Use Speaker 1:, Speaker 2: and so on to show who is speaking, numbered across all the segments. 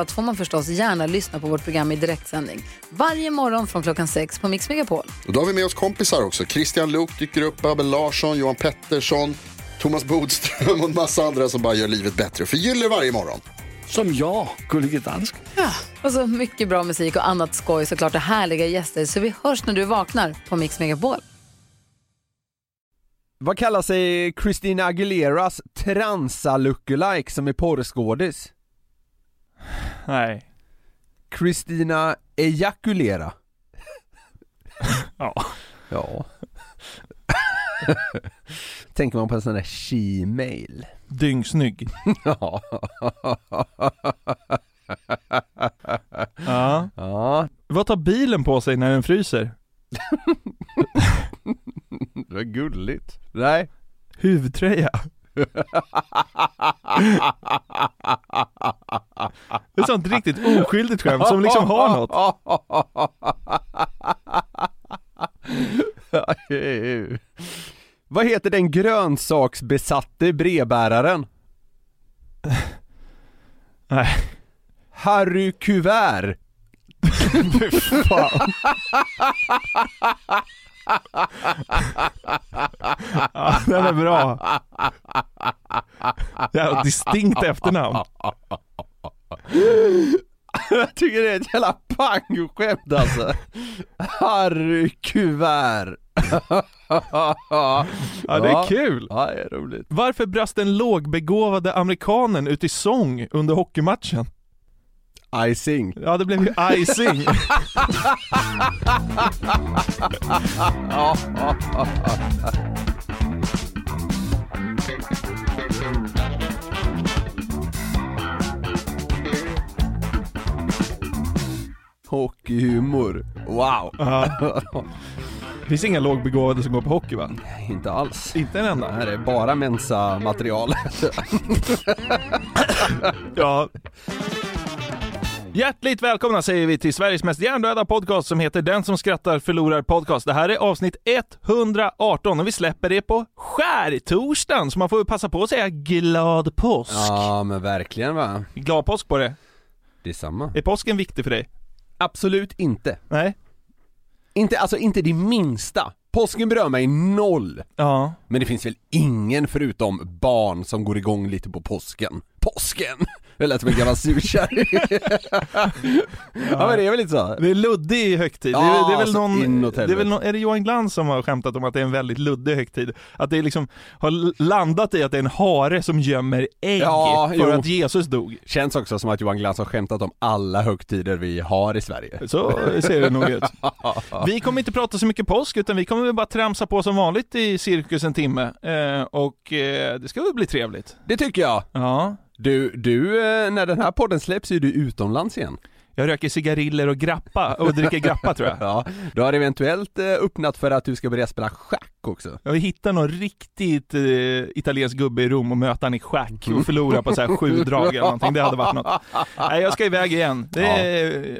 Speaker 1: allt får man förstås gärna lyssna på vårt program i direktsändning. Varje morgon från klockan sex på Mix Megapol.
Speaker 2: Och då har vi med oss kompisar också. Christian Luuk dyker upp, Abel Larsson, Johan Pettersson, Thomas Bodström och en massa andra som bara gör livet bättre och förgyller varje morgon.
Speaker 3: Som jag, Gullige Dansken.
Speaker 1: Och så mycket bra musik och annat skoj såklart och härliga gäster. Så vi hörs när du vaknar på Mix Megapol.
Speaker 4: Vad kallar sig Christina Aguileras transa lookalike som är porrskådis?
Speaker 5: Nej.
Speaker 4: Christina Ejakulera?
Speaker 5: Ja.
Speaker 4: Ja. Tänker man på en sån där she-mail?
Speaker 5: Dyngsnygg.
Speaker 4: Ja.
Speaker 5: Ja.
Speaker 4: ja,
Speaker 5: Vad tar bilen på sig när den fryser?
Speaker 4: det var gulligt. Nej.
Speaker 5: Huvtröja. Det är ett sånt riktigt oskyldigt skämt som liksom har något.
Speaker 4: Vad heter den grönsaksbesatte brevbäraren?
Speaker 5: Nej.
Speaker 4: Harry Kuvert.
Speaker 5: Fan. Ja, den är bra. Jävla distinkt efternamn.
Speaker 4: Jag tycker det är ett jävla pangskämt alltså. Harry Kuvert.
Speaker 5: Ja, det är kul.
Speaker 4: Ja, det är roligt.
Speaker 5: Varför brast den lågbegåvade amerikanen ut i sång under hockeymatchen?
Speaker 4: Icing.
Speaker 5: Ja, det blev ju icing.
Speaker 4: Hockeyhumor. Wow.
Speaker 5: Ja. Det finns inga lågbegåvade som går på hockey va?
Speaker 4: Inte alls.
Speaker 5: Inte en
Speaker 4: Det
Speaker 5: enda?
Speaker 4: här är bara Mensa-material.
Speaker 5: Ja. Hjärtligt välkomna säger vi till Sveriges mest hjärndöda podcast som heter Den som skrattar förlorar podcast. Det här är avsnitt 118 och vi släpper det på skärtorsdagen så man får ju passa på att säga glad påsk.
Speaker 4: Ja, men verkligen va.
Speaker 5: Glad påsk på det.
Speaker 4: Detsamma.
Speaker 5: Är påsken viktig för dig?
Speaker 4: Absolut inte.
Speaker 5: Nej?
Speaker 4: Inte, alltså inte det minsta. Påsken berör mig noll.
Speaker 5: Ja.
Speaker 4: Men det finns väl ingen förutom barn som går igång lite på påsken. Påsken! Det lät som en gammal surkärring. ja men det är väl lite så.
Speaker 5: Det är luddig högtid.
Speaker 4: Ja,
Speaker 5: det, är, det är väl
Speaker 4: alltså,
Speaker 5: någon,
Speaker 4: inåt
Speaker 5: det är, väl
Speaker 4: helvete.
Speaker 5: någon, är det Johan Glans som har skämtat om att det är en väldigt luddig högtid? Att det liksom har l- landat i att det är en hare som gömmer ägg
Speaker 4: Ja,
Speaker 5: för
Speaker 4: jo.
Speaker 5: att Jesus dog.
Speaker 4: Känns också som att Johan Glans har skämtat om alla högtider vi har i Sverige.
Speaker 5: Så ser det nog ut. Vi kommer inte prata så mycket påsk utan vi kommer väl bara tramsa på som vanligt i cirkus en timme. Eh, och eh, det ska väl bli trevligt.
Speaker 4: Det tycker jag.
Speaker 5: Ja.
Speaker 4: Du, du, eh, när den här podden släpps är du utomlands igen.
Speaker 5: Jag röker cigariller och grappa och dricker grappa tror jag.
Speaker 4: Ja, du har eventuellt eh, öppnat för att du ska börja spela schack också.
Speaker 5: Jag hittar någon riktigt eh, italiensk gubbe i Rom och möta han i schack
Speaker 4: Mm.
Speaker 5: och förlora på så här sju drag eller någonting. Det hade varit något. Nej, jag ska iväg igen. Det är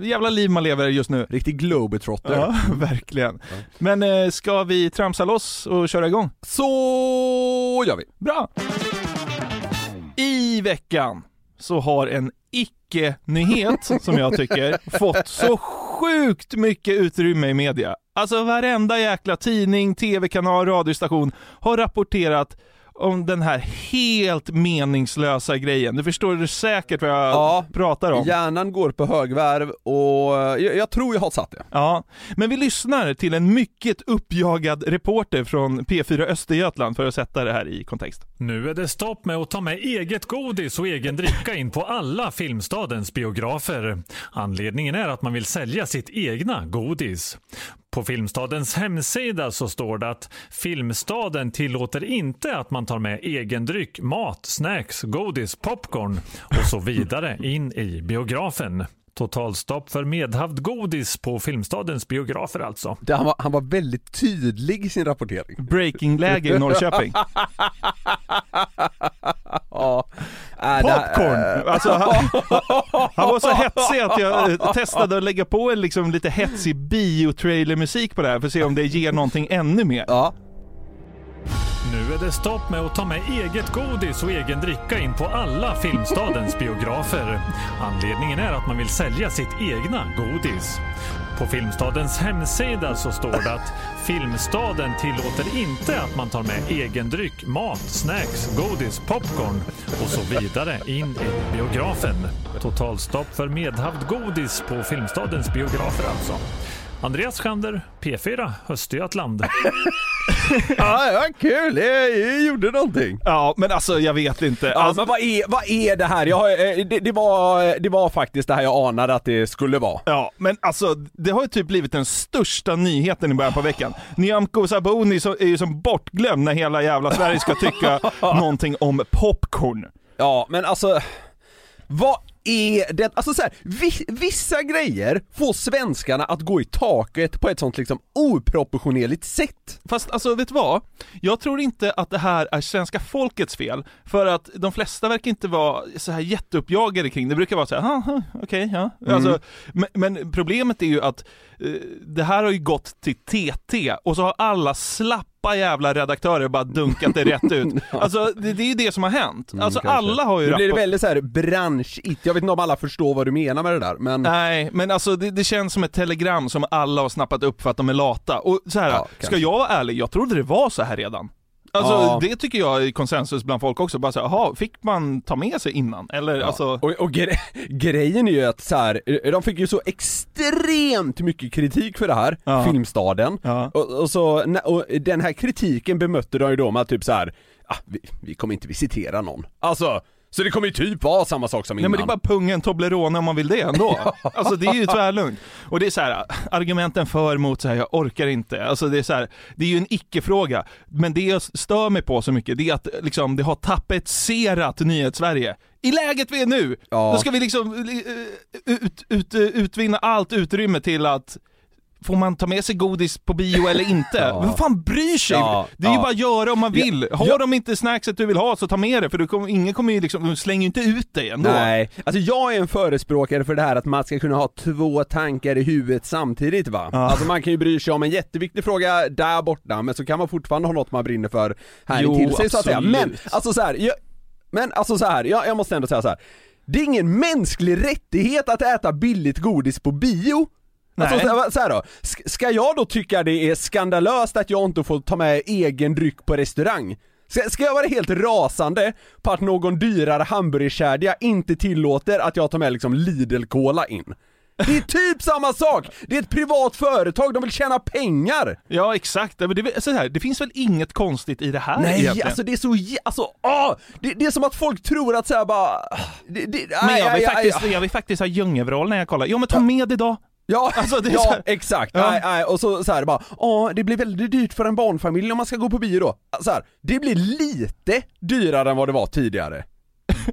Speaker 5: eh, jävla liv man lever just nu.
Speaker 4: Riktig globetrotter.
Speaker 5: Ja, verkligen. Men eh, ska vi tramsa loss och köra igång?
Speaker 4: Så gör vi.
Speaker 5: Bra! I veckan så har en icke-nyhet, som jag tycker, fått så sjukt mycket utrymme i media. Alltså varenda jäkla tidning, tv-kanal, radiostation har rapporterat om den här helt meningslösa grejen. Du förstår du säkert vad jag
Speaker 4: Ja.
Speaker 5: pratar om.
Speaker 4: Hjärnan går på högvarv och eh, jag, jag tror jag har satt det.
Speaker 5: Ja, men vi lyssnar till en mycket uppjagad reporter från P4 Östergötland för att sätta det här i kontext.
Speaker 6: Nu är det stopp med att ta med eget godis och egen dricka in på alla Filmstadens biografer. Anledningen är att man vill sälja sitt egna godis. på Filmstadens hemsida så står det att Filmstaden tillåter inte att man tar med egen dryck, mat, snacks, godis, popcorn och så vidare in i biografen. Totalstopp för medhavd godis på Filmstadens biografer alltså.
Speaker 4: Det, han, var, han var väldigt tydlig i sin rapportering.
Speaker 5: Breakingläge i Norrköping.
Speaker 4: Ja. Äh, det här-
Speaker 5: Popcorn! Alltså, han, han var så hetsig att jag eh, testade att lägga på en liksom lite hetsig biotrailermusik på det här för att se om det ger någonting ännu mer.
Speaker 4: Ja,
Speaker 6: Nu är det stopp med att ta med eget godis och egen dricka in på alla Filmstadens biografer. Anledningen är att man vill sälja sitt egna godis. På Filmstadens hemsida så står det att Filmstaden tillåter inte att man tar med egen dryck, mat, snacks, godis, popcorn och så vidare in i biografen. Totalstopp för medhavd godis på Filmstadens biografer alltså. Andreas Schander, P4, Östergötland.
Speaker 4: ja, ja kul! Jag, jag gjorde någonting.
Speaker 5: Ja, men alltså jag vet inte.
Speaker 4: Ja,
Speaker 5: Alltså,
Speaker 4: men vad är, vad är det här? Jag, har, eh, det, det, var, eh, det var faktiskt det här jag anade att det skulle vara.
Speaker 5: Ja, men alltså det har ju typ blivit den största nyheten i början på veckan. Nyamko Sabuni så- är ju som bortglömd när hela jävla Sverige ska tycka någonting om popcorn.
Speaker 4: Ja, men alltså... Vad är det? Alltså så här, vi, vissa grejer får svenskarna att gå i taket på ett sånt liksom oproportionerligt sätt.
Speaker 5: Fast alltså vet du vad? Jag tror inte att det här är svenska folkets fel, för att de flesta verkar inte vara så här jätteuppjagade kring det. Det brukar vara så här, "Ah, ah, okej,
Speaker 4: Mm.
Speaker 5: ja. Alltså, men, men problemet är ju att eh, det här har ju gått till TT och så har alla slappa jävla redaktörer bara dunkat det rätt ut. Alltså det, det är ju det som har hänt. alltså
Speaker 4: Mm, kanske.
Speaker 5: alla har ju
Speaker 4: Nu blir det
Speaker 5: rapporterat-
Speaker 4: väldigt så här branschigt. Jag vet inte om alla förstår vad du menar med det där, men...
Speaker 5: Nej, men alltså det, det känns som ett telegram som alla har snappat upp för att de är lata. Och så här,
Speaker 4: Ja, kanske.
Speaker 5: ska jag vara ärlig, jag trodde det var så här redan. Alltså
Speaker 4: Ja.
Speaker 5: det tycker jag är konsensus bland folk också, bara så här, jaha, fick man ta med sig innan? Eller
Speaker 4: Ja.
Speaker 5: alltså,
Speaker 4: Och, och gre- grejen är ju att så här, eh, de fick ju så extremt mycket kritik för det här,
Speaker 5: Ja.
Speaker 4: Filmstaden.
Speaker 5: ja.
Speaker 4: Och, och, så, nä- och den här kritiken bemötte de ju då med att typ så här, ah, vi, vi kommer inte visitera någon. Alltså, så det kommer ju typ vara samma sak som
Speaker 5: Nej
Speaker 4: innan.
Speaker 5: men det är bara pungen Toblerone om man vill det ändå. Alltså det är ju tvärlugnt. Och det är så här, argumenten för mot så här, jag orkar inte. Alltså det är så här, det är ju en icke-fråga. Men det jag stör mig på så mycket, det är att liksom, det har tapetserat nyhetssverige. I läget vi är nu,
Speaker 4: Ja.
Speaker 5: då ska vi liksom eh, ut, ut, utvinna allt utrymme till att Får man ta med sig godis på bio eller inte?
Speaker 4: Ja.
Speaker 5: Vem fan bryr sig?
Speaker 4: Ja,
Speaker 5: det är ju
Speaker 4: ja.
Speaker 5: bara att göra om man vill. Har
Speaker 4: ja.
Speaker 5: de inte snackset du vill ha så ta med det för du kommer, ingen kommer ju liksom, de slänger ju inte ut dig ändå.
Speaker 4: Nej, alltså jag är en förespråkare för det här att man ska kunna ha två tankar i huvudet samtidigt va.
Speaker 5: Ja.
Speaker 4: Alltså man kan ju bry sig om en jätteviktig fråga där borta, men så kan man fortfarande ha något man brinner för här
Speaker 5: Jo,
Speaker 4: intill sig så att säga. Men
Speaker 5: absolut.
Speaker 4: alltså så här, jag, men alltså så här, jag, jag måste ändå säga så här. Det är ingen mänsklig rättighet att äta billigt godis på bio. Alltså
Speaker 5: Nej.
Speaker 4: så här- så här då, Sk- ska jag då tycka det är skandalöst att jag inte får ta med egen dryck på restaurang? Ska, ska jag vara helt rasande på att någon dyrare hamburgerkedja inte tillåter att jag tar med liksom Lidl-cola in? Det är typ samma sak! Det är ett privat företag, de vill tjäna pengar!
Speaker 5: Ja exakt, men det, är så här, det finns väl inget konstigt i det här
Speaker 4: Nej,
Speaker 5: egentligen?
Speaker 4: alltså det är så jä- alltså, åh! Det, det är som att folk tror att såhär bara... ah, Det, det,
Speaker 5: men
Speaker 4: aj,
Speaker 5: jag
Speaker 4: aj,
Speaker 5: vill,
Speaker 4: aj,
Speaker 5: faktiskt,
Speaker 4: aj.
Speaker 5: jag vill faktiskt ha djungelvrål när jag kollar. Ja men ta med det då!
Speaker 4: Ja,
Speaker 5: Alltså, det är
Speaker 4: ja
Speaker 5: så här-
Speaker 4: exakt.
Speaker 5: Ja.
Speaker 4: Nej, nej. Och så, så här bara, åh det blir väldigt dyrt för en barnfamilj om man ska gå på bio då. Så här, det blir lite dyrare än vad det var tidigare.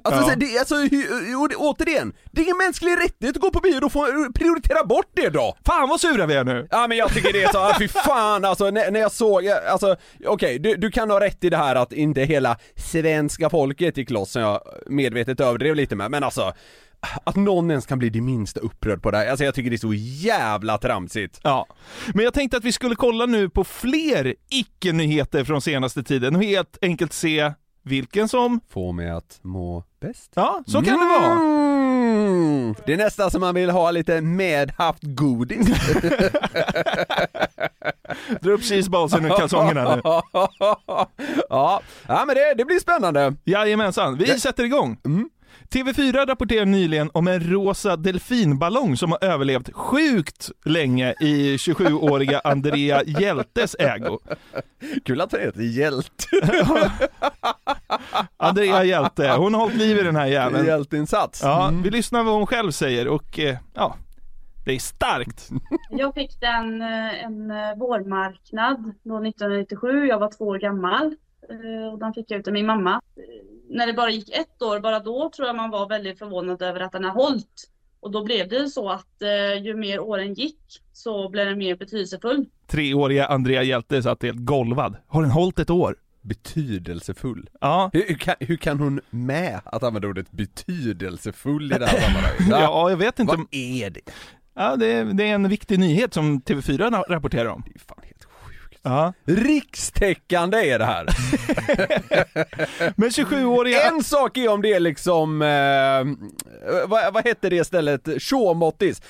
Speaker 4: Alltså,
Speaker 5: Ja.
Speaker 4: så här, det, alltså hur- och det, återigen, det är ingen mänsklig rättighet att gå på bio, då får man prioritera bort det då!
Speaker 5: Fan vad sura vi är nu!
Speaker 4: Ja men jag tycker det är så, ah, fy fan alltså när, när jag såg, jag- alltså okej du, du kan ha rätt i det här att inte hela svenska folket gick loss som jag medvetet överdrev lite med, men alltså att någon ens kan bli det minsta upprörd på det här, alltså jag tycker det är så jävla tramsigt.
Speaker 5: Ja. Men jag tänkte att vi skulle kolla nu på fler icke-nyheter från senaste tiden och helt enkelt se vilken som...
Speaker 4: Få mig att må bäst.
Speaker 5: Ja, så kan det vara!
Speaker 4: Mm. Det är nästan som man vill ha lite medhaft godis.
Speaker 5: Dra upp cheesebalsen ur kalsongerna nu.
Speaker 4: ja. ja, men det, det blir spännande. Mm.
Speaker 5: Jajamensan, vi sätter igång! TV4 rapporterar nyligen om en rosa delfinballong som har överlevt sjukt länge i 27-åriga Andrea Hjältes ägo.
Speaker 4: Kul att han heter Hjälte.
Speaker 5: Andrea Hjälte, hon har hållit liv i den här jäveln.
Speaker 4: Hjälteinsats. Mm.
Speaker 5: Ja, vi lyssnar vad hon själv säger och eh, ja, Det är starkt.
Speaker 7: Jag fick den eh, en eh, vårmarknad då 1997. Jag var två år gammal. Eh, Och den fick jag ut av min mamma. Eh, När det bara gick ett år, bara då tror jag man var väldigt förvånad över att den har hållit. Och då blev det så att eh, ju mer åren gick så blev den mer betydelsefull.
Speaker 5: Treåriga Andrea Hjälte satt helt golvad. Har den hållit ett år?
Speaker 4: Betydelsefull.
Speaker 5: Ja.
Speaker 4: Hur, hur, kan, hur kan hon med att använda ordet betydelsefull i det här sammanhanget?
Speaker 5: Ja, jag vet inte.
Speaker 4: Vad är det?
Speaker 5: Ja, det, är, det är en viktig nyhet som TV4 na- rapporterar om.
Speaker 4: Det är fan helt sjukt.
Speaker 5: Ja.
Speaker 4: Rikstäckande är det här.
Speaker 5: Men 27-åriga...
Speaker 4: En sak är om det är liksom, eh, vad, vad hette det stället, Tjåmåttis?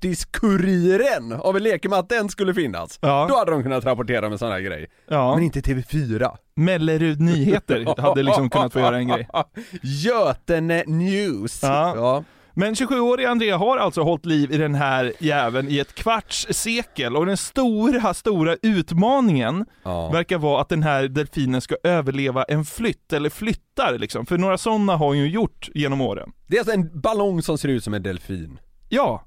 Speaker 4: Tjåmåttis-Kuriren, om vi leker med att den skulle finnas.
Speaker 5: Ja.
Speaker 4: Då hade de kunnat rapportera med sån här grej.
Speaker 5: Ja,
Speaker 4: Men inte TV4.
Speaker 5: Mellerud Nyheter hade liksom kunnat få göra en grej.
Speaker 4: Götene News.
Speaker 5: Ja. Men 27-åriga Andrea har alltså hållit liv i den här jäveln i ett kvarts sekel och den stora, stora utmaningen
Speaker 4: Ja.
Speaker 5: verkar vara att den här delfinen ska överleva en flytt, eller flyttar liksom, för några sådana har hon ju gjort genom åren.
Speaker 4: Det är alltså en ballong som ser ut som en delfin.
Speaker 5: Ja,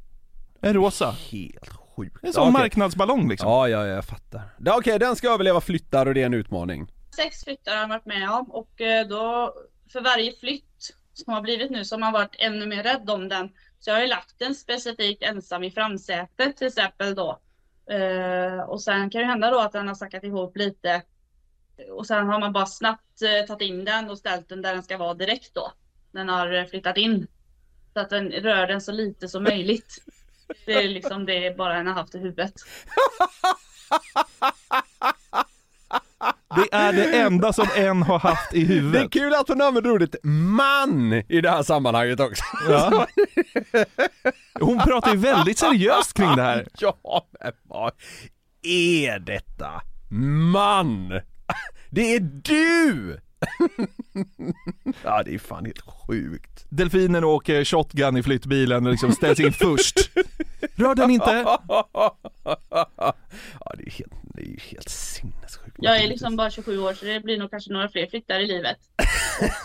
Speaker 5: en rosa.
Speaker 4: Helt sjukt.
Speaker 5: En
Speaker 4: Ja,
Speaker 5: sån
Speaker 4: okej.
Speaker 5: marknadsballong liksom.
Speaker 4: Ja, ja, ja, jag fattar. Ja, Okej, den ska överleva flyttar och det är en utmaning.
Speaker 7: Sex flyttar har han varit med om och eh, då för varje flytt som har blivit nu så har man varit ännu mer rädd om den. Så jag har ju lagt den specifikt ensam i framsätet till exempel då. Eh, och sen kan det hända då att den har sackat ihop lite. Och sen har man bara snabbt eh, tagit in den och ställt den där den ska vara direkt då. Den har eh, flyttat in. Så att den rör den så lite som möjligt. Det är liksom det bara den har haft i huvudet.
Speaker 5: Det är det enda som en har haft i
Speaker 4: Det är
Speaker 5: huvudet.
Speaker 4: kul att hon använder ordet man Mm, i det här sammanhanget också.
Speaker 5: Ja. Hon pratar ju väldigt seriöst kring det här.
Speaker 4: Ja, men vad är detta? Man! Det är du! ja, det är fan helt sjukt.
Speaker 5: Delfinen åker shotgun i flyttbilen och liksom ställs in först. Rör den inte.
Speaker 4: ja, det är helt, det är ju helt sinnessjukt.
Speaker 7: Jag är liksom bara 27 år så det blir nog kanske några fler flyttar i livet.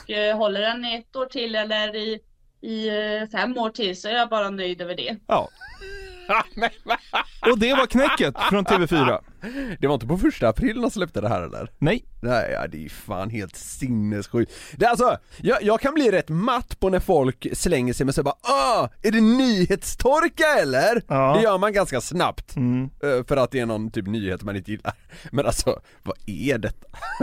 Speaker 7: Och eh, håller den i ett år till eller i, i eh, fem år till så är jag bara nöjd över det.
Speaker 5: Ja. Och det var knäcket från TV4.
Speaker 4: Det var inte på första april de släppte det här eller?
Speaker 5: Nej,
Speaker 4: Nej, ja, det är fan helt sinnessjukt. Det är alltså, jag, jag kan bli rätt matt på när folk slänger sig med sig bara ah, är det nyhetstorka eller?
Speaker 5: Ja. Mm.
Speaker 4: Det gör man ganska snabbt. Eh, För att det är någon typ nyhet man inte gillar. Men alltså, vad är detta?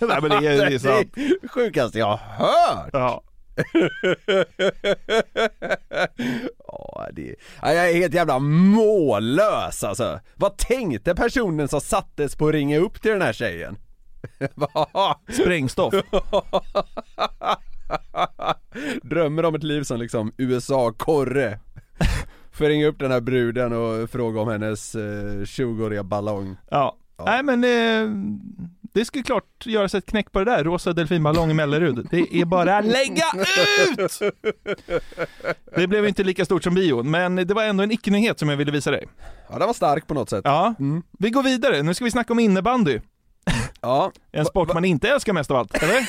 Speaker 5: Nej men det är, det är
Speaker 4: det
Speaker 5: sant.
Speaker 4: är det sjukaste jag har hört!
Speaker 5: Ja.
Speaker 4: ja, det ja, jag är helt jävla mållös alltså. Vad tänkte personen som sattes på att ringa upp till den här tjejen?
Speaker 5: Sprängstoff.
Speaker 4: Drömmer om ett liv som liksom USA-korre. Får ringa upp den här bruden och fråga om hennes eh, 20-åriga ballong.
Speaker 5: Ja. Nej men eh, det skulle klart göras ett knäck på det där. Rosa delfinballong i Mellerud. Det är bara att lägga ut! Det blev inte lika stort som bion, men det var ändå en icke-nyhet som jag ville visa dig.
Speaker 4: Ja, den var stark på något sätt. Mm.
Speaker 5: Ja, vi går vidare. Nu ska vi snacka om innebandy.
Speaker 4: Ja.
Speaker 5: En sport man inte älskar mest av allt, eller?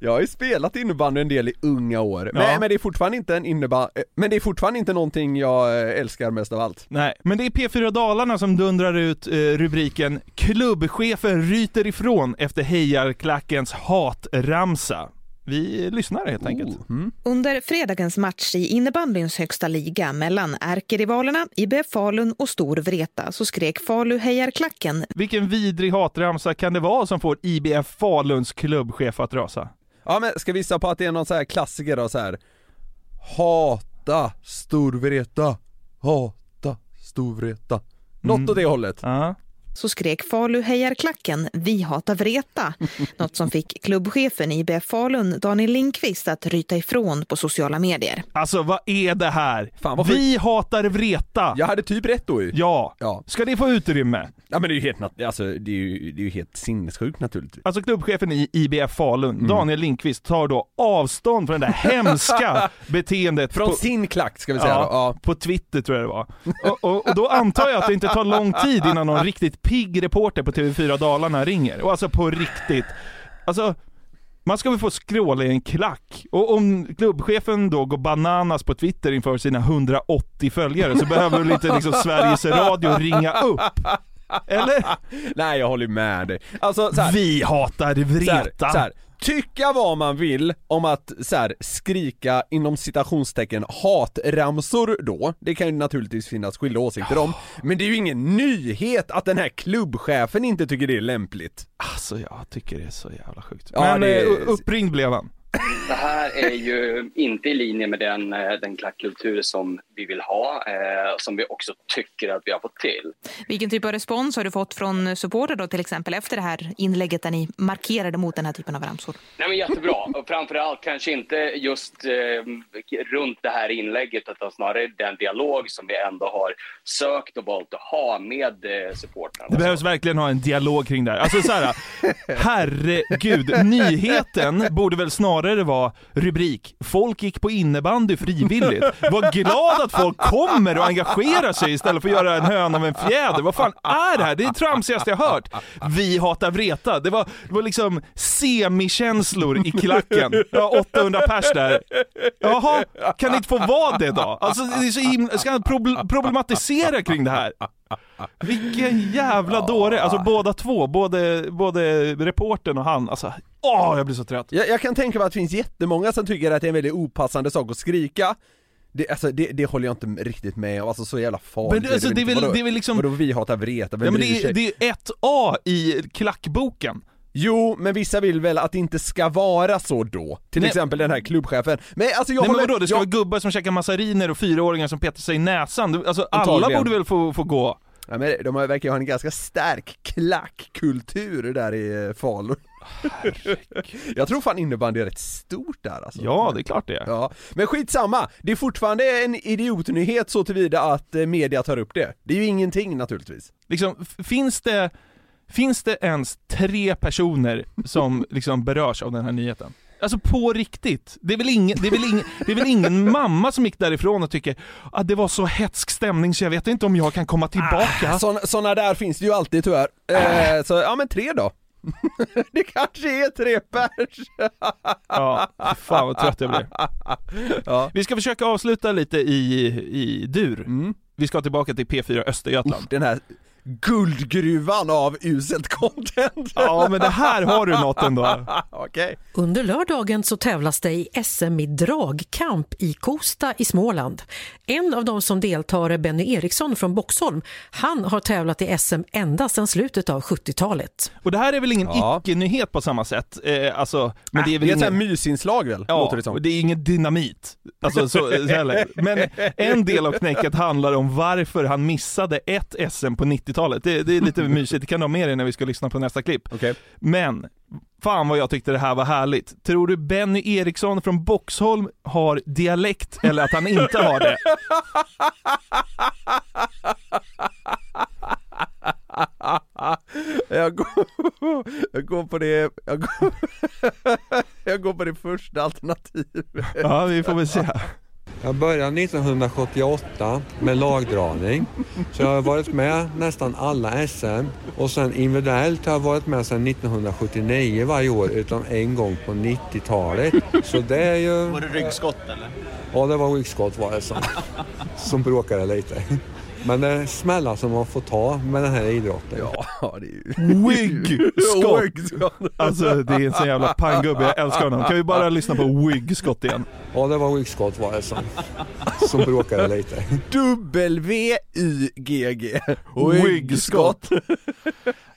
Speaker 4: Jag har ju spelat innebandy en del i unga år.
Speaker 5: Ja.
Speaker 4: Nej, men det är fortfarande inte en innebandy, men det är fortfarande inte någonting jag eh, älskar mest av allt.
Speaker 5: Nej, men det är P4 Dalarna som dundrar ut eh, rubriken “Klubbchefen ryter ifrån efter hejarklackens hatramsa”. Vi lyssnar helt enkelt.
Speaker 4: Oh, mm.
Speaker 8: Under fredagens match i innebandyns högsta liga mellan ärkerivalerna IBF Falun och Stor Vreta så skrek Falu-hejarklacken
Speaker 5: Vilken vidrig hatramsa kan det vara som får IBF Faluns klubbchef att rasa?
Speaker 4: Ja, men ska vi gissa på att det är någon så här klassiker då så här. Hata Storvreta, hata Storvreta. Något åt det hållet.
Speaker 5: Ja.
Speaker 8: så skrek Falu-hejarklacken Vi hatar Vreta. Något som fick klubbchefen i IBF Falun, Daniel Lindqvist, att ryta ifrån på sociala medier.
Speaker 5: Alltså vad är det här?
Speaker 4: Fan, vad
Speaker 5: Vi hatar Vreta!
Speaker 4: Jag hade typ rätt då ju.
Speaker 5: Ja.
Speaker 4: Ja.
Speaker 5: Ska det få utrymme?
Speaker 4: Ja men det är ju helt, nat- alltså, det är ju, det är ju helt sinnessjukt naturligtvis.
Speaker 5: Alltså klubbchefen i IBF Falun,
Speaker 4: Mm.
Speaker 5: Daniel Lindqvist, tar då avstånd från det där hemska beteendet
Speaker 4: Från
Speaker 5: på,
Speaker 4: sin klack ska vi säga då. Ja.
Speaker 5: på Twitter tror jag det var. Och, och, och då antar jag att det inte tar lång tid innan någon riktigt pigg reporter på TV4 Dalarna ringer. Och alltså på riktigt. Alltså, Man ska väl få skråla i en klack. Och om klubbchefen då går bananas på Twitter inför sina 180 följare så behöver väl inte liksom Sveriges Radio ringa upp? Eller?
Speaker 4: Nej jag håller med dig. Alltså så här,
Speaker 5: Vi hatar
Speaker 4: så här,
Speaker 5: Vreta.
Speaker 4: så här, tycka vad man vill om att så här, skrika inom citationstecken hatramsor då, det kan ju naturligtvis finnas skilda åsikter om, men det är ju ingen nyhet att den här klubbchefen inte tycker det är lämpligt.
Speaker 5: Alltså jag tycker det är så jävla sjukt.
Speaker 4: Ja,
Speaker 5: Men
Speaker 4: det är-
Speaker 5: eh, uppringd blev han.
Speaker 9: Det här är ju inte i linje med den, eh, den klackkultur som vi vill ha, eh, som vi också tycker att vi har fått till.
Speaker 8: Vilken typ av respons har du fått från supporter då till exempel efter det här inlägget där ni markerade mot den här typen av ramsor?
Speaker 9: Nej, men jättebra, och framförallt kanske inte just eh, runt det här inlägget utan snarare den dialog som vi ändå har sökt och valt att ha med eh, supportrarna.
Speaker 5: Det behövs verkligen ha en dialog kring det här. Alltså så här, herregud, nyheten borde väl snarare vara rubrik “Folk gick på innebandy frivilligt”. Var glad att folk kommer och engagerar sig istället för att göra en höna av en fjäder. Vad fan är det här? Det är det tramsigaste jag hört. Vi hatar Vreta. Det var, det var liksom semikänslor i klacken. Ja, 800 pers där. Jaha, kan det inte få vara det då? Alltså, det är så himla, ska han proble- problematisera kring det här? Vilken jävla dåre! Alltså båda två, både, både reportern och han, alltså åh jag blir så trött.
Speaker 4: Jag, jag kan tänka mig att det finns jättemånga som tycker att det är en väldigt opassande sak att skrika. Det, alltså, det, det håller jag inte riktigt med om, alltså så jävla farligt
Speaker 5: Men det- alltså, det är väl-
Speaker 4: inte. Vadå-
Speaker 5: det är väl liksom-
Speaker 4: Vadå vi hatar Vreta, vem
Speaker 5: Ja, men
Speaker 4: bryr
Speaker 5: det,
Speaker 4: sig?
Speaker 5: är, det är ett A i klackboken.
Speaker 4: Jo, men vissa vill väl att det inte ska vara så då? Till
Speaker 5: Nej.
Speaker 4: exempel den här klubbchefen. Men alltså jag
Speaker 5: Nej men
Speaker 4: håller...
Speaker 5: vadå, det ska
Speaker 4: jag...
Speaker 5: vara gubbar som käkar massariner och fyraåringar som petar sig i näsan. Du- Alltså alla
Speaker 4: Antagligen.
Speaker 5: borde väl få, få gå.
Speaker 4: Ja, men de har- verkar ju ha en ganska stark klackkultur där i eh, Falun. jag tror fan innebandy är rätt stort där alltså.
Speaker 5: Ja, det är klart det är.
Speaker 4: Ja, men skitsamma! Det är fortfarande en idiotnyhet så tillvida att eh, media tar upp det. Det är ju ingenting naturligtvis.
Speaker 5: Liksom, f- finns det, finns det ens tre personer som liksom berörs av den här nyheten? Alltså på riktigt. Det är väl ingen, det är väl ingen, det är väl ingen mamma som gick därifrån och tycker att det var så hetsk stämning så jag vet inte om jag kan komma tillbaka.
Speaker 4: Såna, såna där finns det ju alltid tyvärr. Eh, så, ja men tre då. det kanske är tre pers!
Speaker 5: Ja, fan vad trött jag blir. Vi ska försöka avsluta lite i, i dur. Vi ska tillbaka till P4 Östergötland.
Speaker 4: Mm. Den här guldgruvan av uselt content.
Speaker 5: Ja men det här har du något ändå.
Speaker 4: Okej.
Speaker 10: Under lördagen så tävlas det i SM i dragkamp i Kosta i Småland. En av de som deltar är Benny Eriksson från Boxholm. Han har tävlat i SM ända sedan slutet av 70-talet.
Speaker 5: Och det här är väl ingen
Speaker 4: Ja. Ah,
Speaker 5: icke-nyhet på samma sätt. Eh, alltså, men det är väl
Speaker 4: Det är ett
Speaker 5: ingen...
Speaker 4: sånt här mysinslag väl?
Speaker 5: Ja,
Speaker 4: låter det
Speaker 5: och
Speaker 4: som.
Speaker 5: det är ingen dynamit. Alltså, så, så heller. Men en del av knäcket handlar om varför han missade ett SM på 90-talet. Det, det är lite mysigt, det kan du ha med dig när vi ska lyssna på nästa klipp.
Speaker 4: Okej.
Speaker 5: Men, fan vad jag tyckte det här var härligt. Tror du Benny Eriksson från Boxholm har dialekt eller att han inte har det?
Speaker 4: Jag, går, jag går på det, jag går, jag går på det första alternativet.
Speaker 5: Ja, vi får väl se.
Speaker 11: Jag började 1978 med lagdragning. Så jag har varit med nästan alla SM. Och sen individuellt har jag varit med sedan 1979 varje år utom en gång på 90-talet. Så det är ju... Var det ryggskott eller? Ja, det var ryggskott var det som, som bråkade lite. Men det är smällar som man får ta med den här idrotten.
Speaker 4: Ja, det är ju...
Speaker 5: Wig-skott!
Speaker 4: Wig-skott.
Speaker 5: Alltså det är en sån jävla panggubbe, jag älskar honom. Kan vi bara lyssna på Wig-skott igen?
Speaker 11: Ja, det var ryggskott var det som, som bråkade lite.
Speaker 4: W-Y-G-G.
Speaker 5: Wigskott.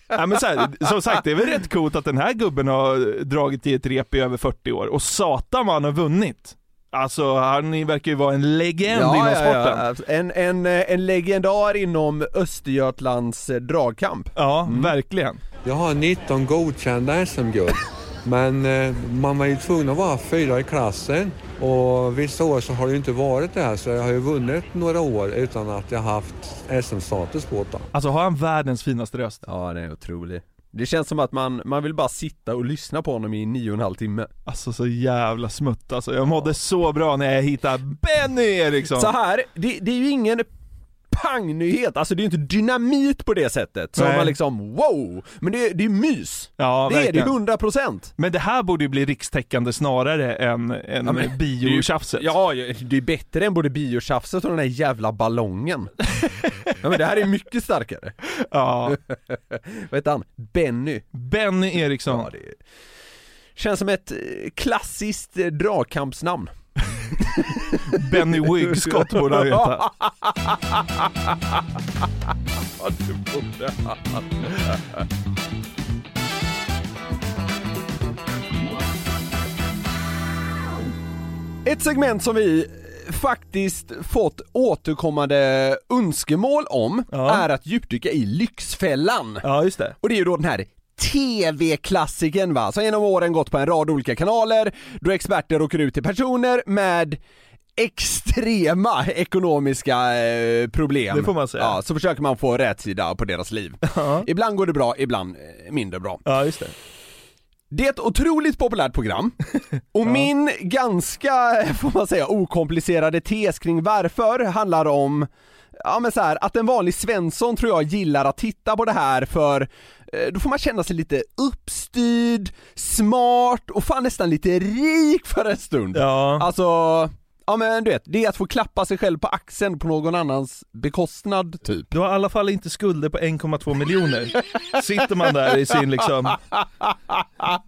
Speaker 5: Ja, men så här, som sagt, det är väl rätt coolt att den här gubben har dragit i ett rep i över 40 år och satan vad han har vunnit. Alltså han verkar ju vara en legend inom
Speaker 4: Ja, ja,
Speaker 5: sporten.
Speaker 4: ja.
Speaker 5: Ja,
Speaker 4: Alltså, En, en, en legendar inom Östergötlands eh, dragkamp.
Speaker 5: verkligen.
Speaker 11: Jag har 19 godkända SM-guld. Men eh, man var ju tvungen att vara fyra i klassen och vissa år så har det ju inte varit det här så jag har ju vunnit några år utan att jag haft SM-status på det.
Speaker 5: Alltså har han världens finaste röst?
Speaker 4: Ja, det är otroligt. Det känns som att man, man vill bara sitta och lyssna på honom i nio och en halv timme.
Speaker 5: Alltså så jävla smutt alltså. Jag mådde så bra när jag hittade Benny Eriksson.
Speaker 4: Så här, det, det är ju ingen pangnyhet, alltså det är ju inte dynamit på det sättet som
Speaker 5: Nej.
Speaker 4: man liksom wow! Men det, är- det är mys!
Speaker 5: Ja,
Speaker 4: det är det,
Speaker 5: verkligen.
Speaker 4: 100 procent!
Speaker 5: Men det här borde ju bli rikstäckande snarare än, än
Speaker 4: Ja, men-
Speaker 5: biotjafset.
Speaker 4: Ja, det är bättre än både biotjafset och den där jävla ballongen. ja, men det här är mycket starkare.
Speaker 5: Ja.
Speaker 4: Vad heter han? Benny.
Speaker 5: Benny Eriksson.
Speaker 4: Ja, det känns som ett eh, klassiskt eh, dragkampsnamn.
Speaker 5: Benny Wigskott borde han heta.
Speaker 4: Ja, du borde ha. Ett segment som vi faktiskt fått återkommande önskemål om är att djupdyka i Lyxfällan.
Speaker 5: Ja, just det.
Speaker 4: Och det är ju då den här TV-klassiken va, som genom åren gått på en rad olika kanaler, då experter åker ut till personer med extrema ekonomiska eh, problem.
Speaker 5: Det får man säga.
Speaker 4: Ja, så försöker man få rätt sida på deras liv. Ibland går det bra, ibland eh, mindre bra.
Speaker 5: Ja, just det.
Speaker 4: Det är ett otroligt populärt program och min ganska, får man säga, okomplicerade tes kring varför handlar om Ja men så här, att en vanlig Svensson tror jag gillar att titta på det här för eh, då får man känna sig lite uppstyrd, smart och fan nästan lite rik för en stund.
Speaker 5: Ja.
Speaker 4: Alltså, ja men du vet, det är att få klappa sig själv på axeln på någon annans bekostnad typ.
Speaker 5: Du har i alla fall inte skulder på 1,2 miljoner. Sitter man där i sin liksom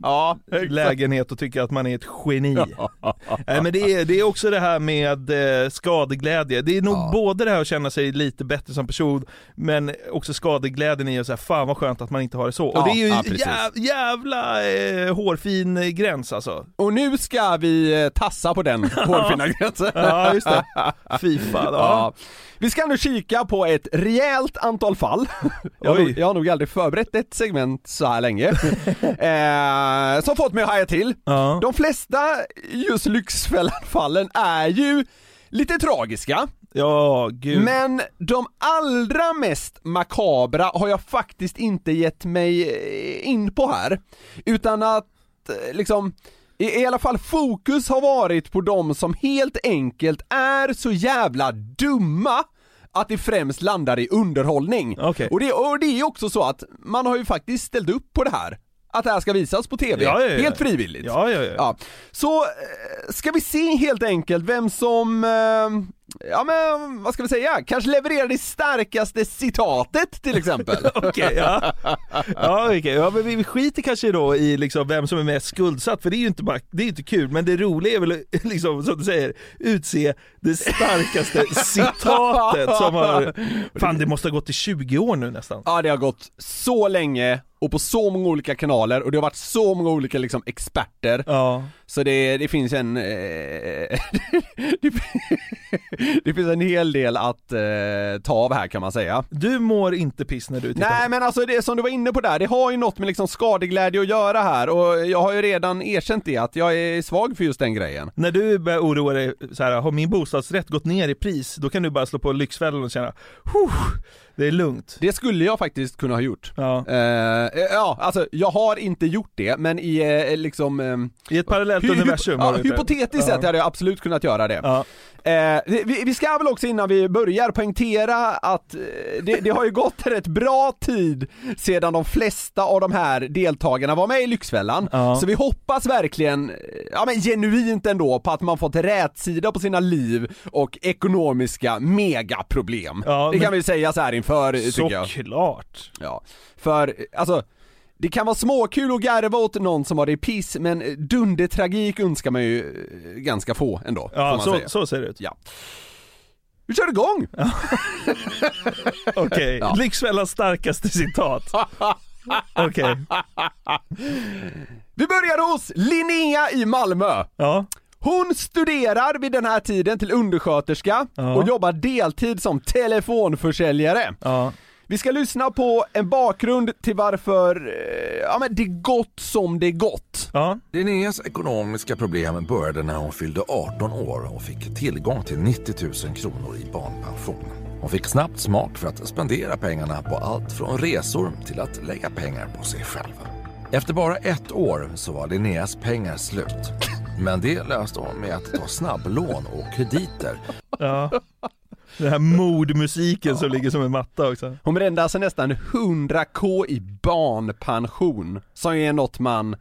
Speaker 4: ja,
Speaker 5: lägenhet och tycker att man är ett geni. Nej men det är, det är också det här med eh, skadeglädje. Det är nog både det här att känna sig lite bättre som person men också skadeglädjen i att säga fan vad skönt att man inte har det så.
Speaker 4: Ja,
Speaker 5: och det är ju
Speaker 4: ja, precis.
Speaker 5: jäv, jävla eh, hårfin eh, gräns alltså.
Speaker 4: Och nu ska vi eh, tassa på den hårfina gränsen.
Speaker 5: Ja just det. Fy fan. Ja.
Speaker 4: Ja. Vi ska nu kika på ett rejält antal fall. Jag har,
Speaker 5: Oj.
Speaker 4: nog, jag har nog aldrig förberett ett segment så här länge. eh, som fått mig att haja till.
Speaker 5: Ja.
Speaker 4: De flesta just Lyxfällan-fallen är ju lite tragiska.
Speaker 5: ja, gud.
Speaker 4: Men de allra mest makabra har jag faktiskt inte gett mig eh, in på här. Utan att eh, liksom i i alla fall fokus har varit på de som helt enkelt är så jävla dumma att det främst landar i underhållning.
Speaker 5: Okej.
Speaker 4: Och, det, och det är också så att man har ju faktiskt ställt upp på det här. Att det här ska visas på TV.
Speaker 5: Ja, ja, ja.
Speaker 4: Helt frivilligt.
Speaker 5: Ja, ja, ja.
Speaker 4: Ja. Så eh, ska vi se helt enkelt vem som, eh, ja men vad ska vi säga, kanske levererar det starkaste citatet till exempel.
Speaker 5: Okej, ja. Ja, okej. ja, men vi vi skiter kanske då i liksom vem som är mest skuldsatt för det är ju inte, bara, det är inte kul men det roliga är väl liksom som du säger utse det starkaste citatet som har, fan det måste ha gått i 20 år nu nästan.
Speaker 4: Ja det har gått så länge och på så många olika kanaler och det har varit så många olika liksom experter.
Speaker 5: Ja,
Speaker 4: Så det, det finns en, eh, det, fin- det finns en hel del att eh, ta av här kan man säga.
Speaker 5: du mår inte piss när du tittar
Speaker 4: Nej men alltså det som du var inne på där, det har ju något med liksom skadeglädje att göra här och jag har ju redan erkänt det att jag är svag för just den grejen.
Speaker 5: När du börjar oroa dig så här, har min bostadsrätt gått ner i pris? Då kan du bara slå på Lyxfällan och känna, "Huh, det är lugnt.
Speaker 4: Det skulle jag faktiskt kunna ha gjort.
Speaker 5: Ja.
Speaker 4: Eh, eh, ja, alltså jag har inte gjort det, men i eh, liksom... ehm,
Speaker 5: I ett parallellt
Speaker 4: hy-
Speaker 5: universum.
Speaker 4: Ja,
Speaker 5: har vi-
Speaker 4: hypotetiskt
Speaker 5: Ja.
Speaker 4: sett hade jag absolut kunnat göra det.
Speaker 5: Ja.
Speaker 4: Eh, vi, vi ska väl också innan vi börjar poängtera att eh, det, det har ju gått rätt bra tid sedan de flesta av de här deltagarna var med i Lyxfällan.
Speaker 5: Ja.
Speaker 4: Så vi hoppas verkligen, eh, ja men genuint ändå, på att man fått rätsida på sina liv och ekonomiska megaproblem.
Speaker 5: Ja,
Speaker 4: det kan
Speaker 5: men-
Speaker 4: vi säga så här inför, tycker jag.
Speaker 5: Såklart!
Speaker 4: Ja, för eh, alltså det kan vara småkul att garva åt någon som har det i piss, men eh, dundertragik önskar man ju eh, ganska få ändå, får
Speaker 5: Ja,
Speaker 4: man
Speaker 5: så,
Speaker 4: säga.
Speaker 5: så ser det ut.
Speaker 4: Ja. Vi kör igång!
Speaker 5: Okej,
Speaker 4: Ja.
Speaker 5: Lyxfällans starkaste citat. Okej,
Speaker 4: Vi börjar hos Linnea i Malmö.
Speaker 5: ja.
Speaker 4: Hon studerar vid den här tiden till undersköterska
Speaker 5: Ja.
Speaker 4: och jobbar deltid som telefonförsäljare.
Speaker 5: ja.
Speaker 4: Vi ska lyssna på en bakgrund till varför, eh, ja men det gått som det gått.
Speaker 5: Ja,
Speaker 12: Linneas ekonomiska problem började när hon fyllde 18 år och fick tillgång till 90 000 kronor i barnpension. Hon fick snabbt smak för att spendera pengarna på allt från resor till att lägga pengar på sig själv. Efter bara ett år så var Linneas pengar slut. Men det löste hon med att ta snabblån och krediter
Speaker 5: ja. Den här mordmusiken som ligger som en matta också.
Speaker 4: Hon brände alltså nästan 100k i barnpension, som ju är något man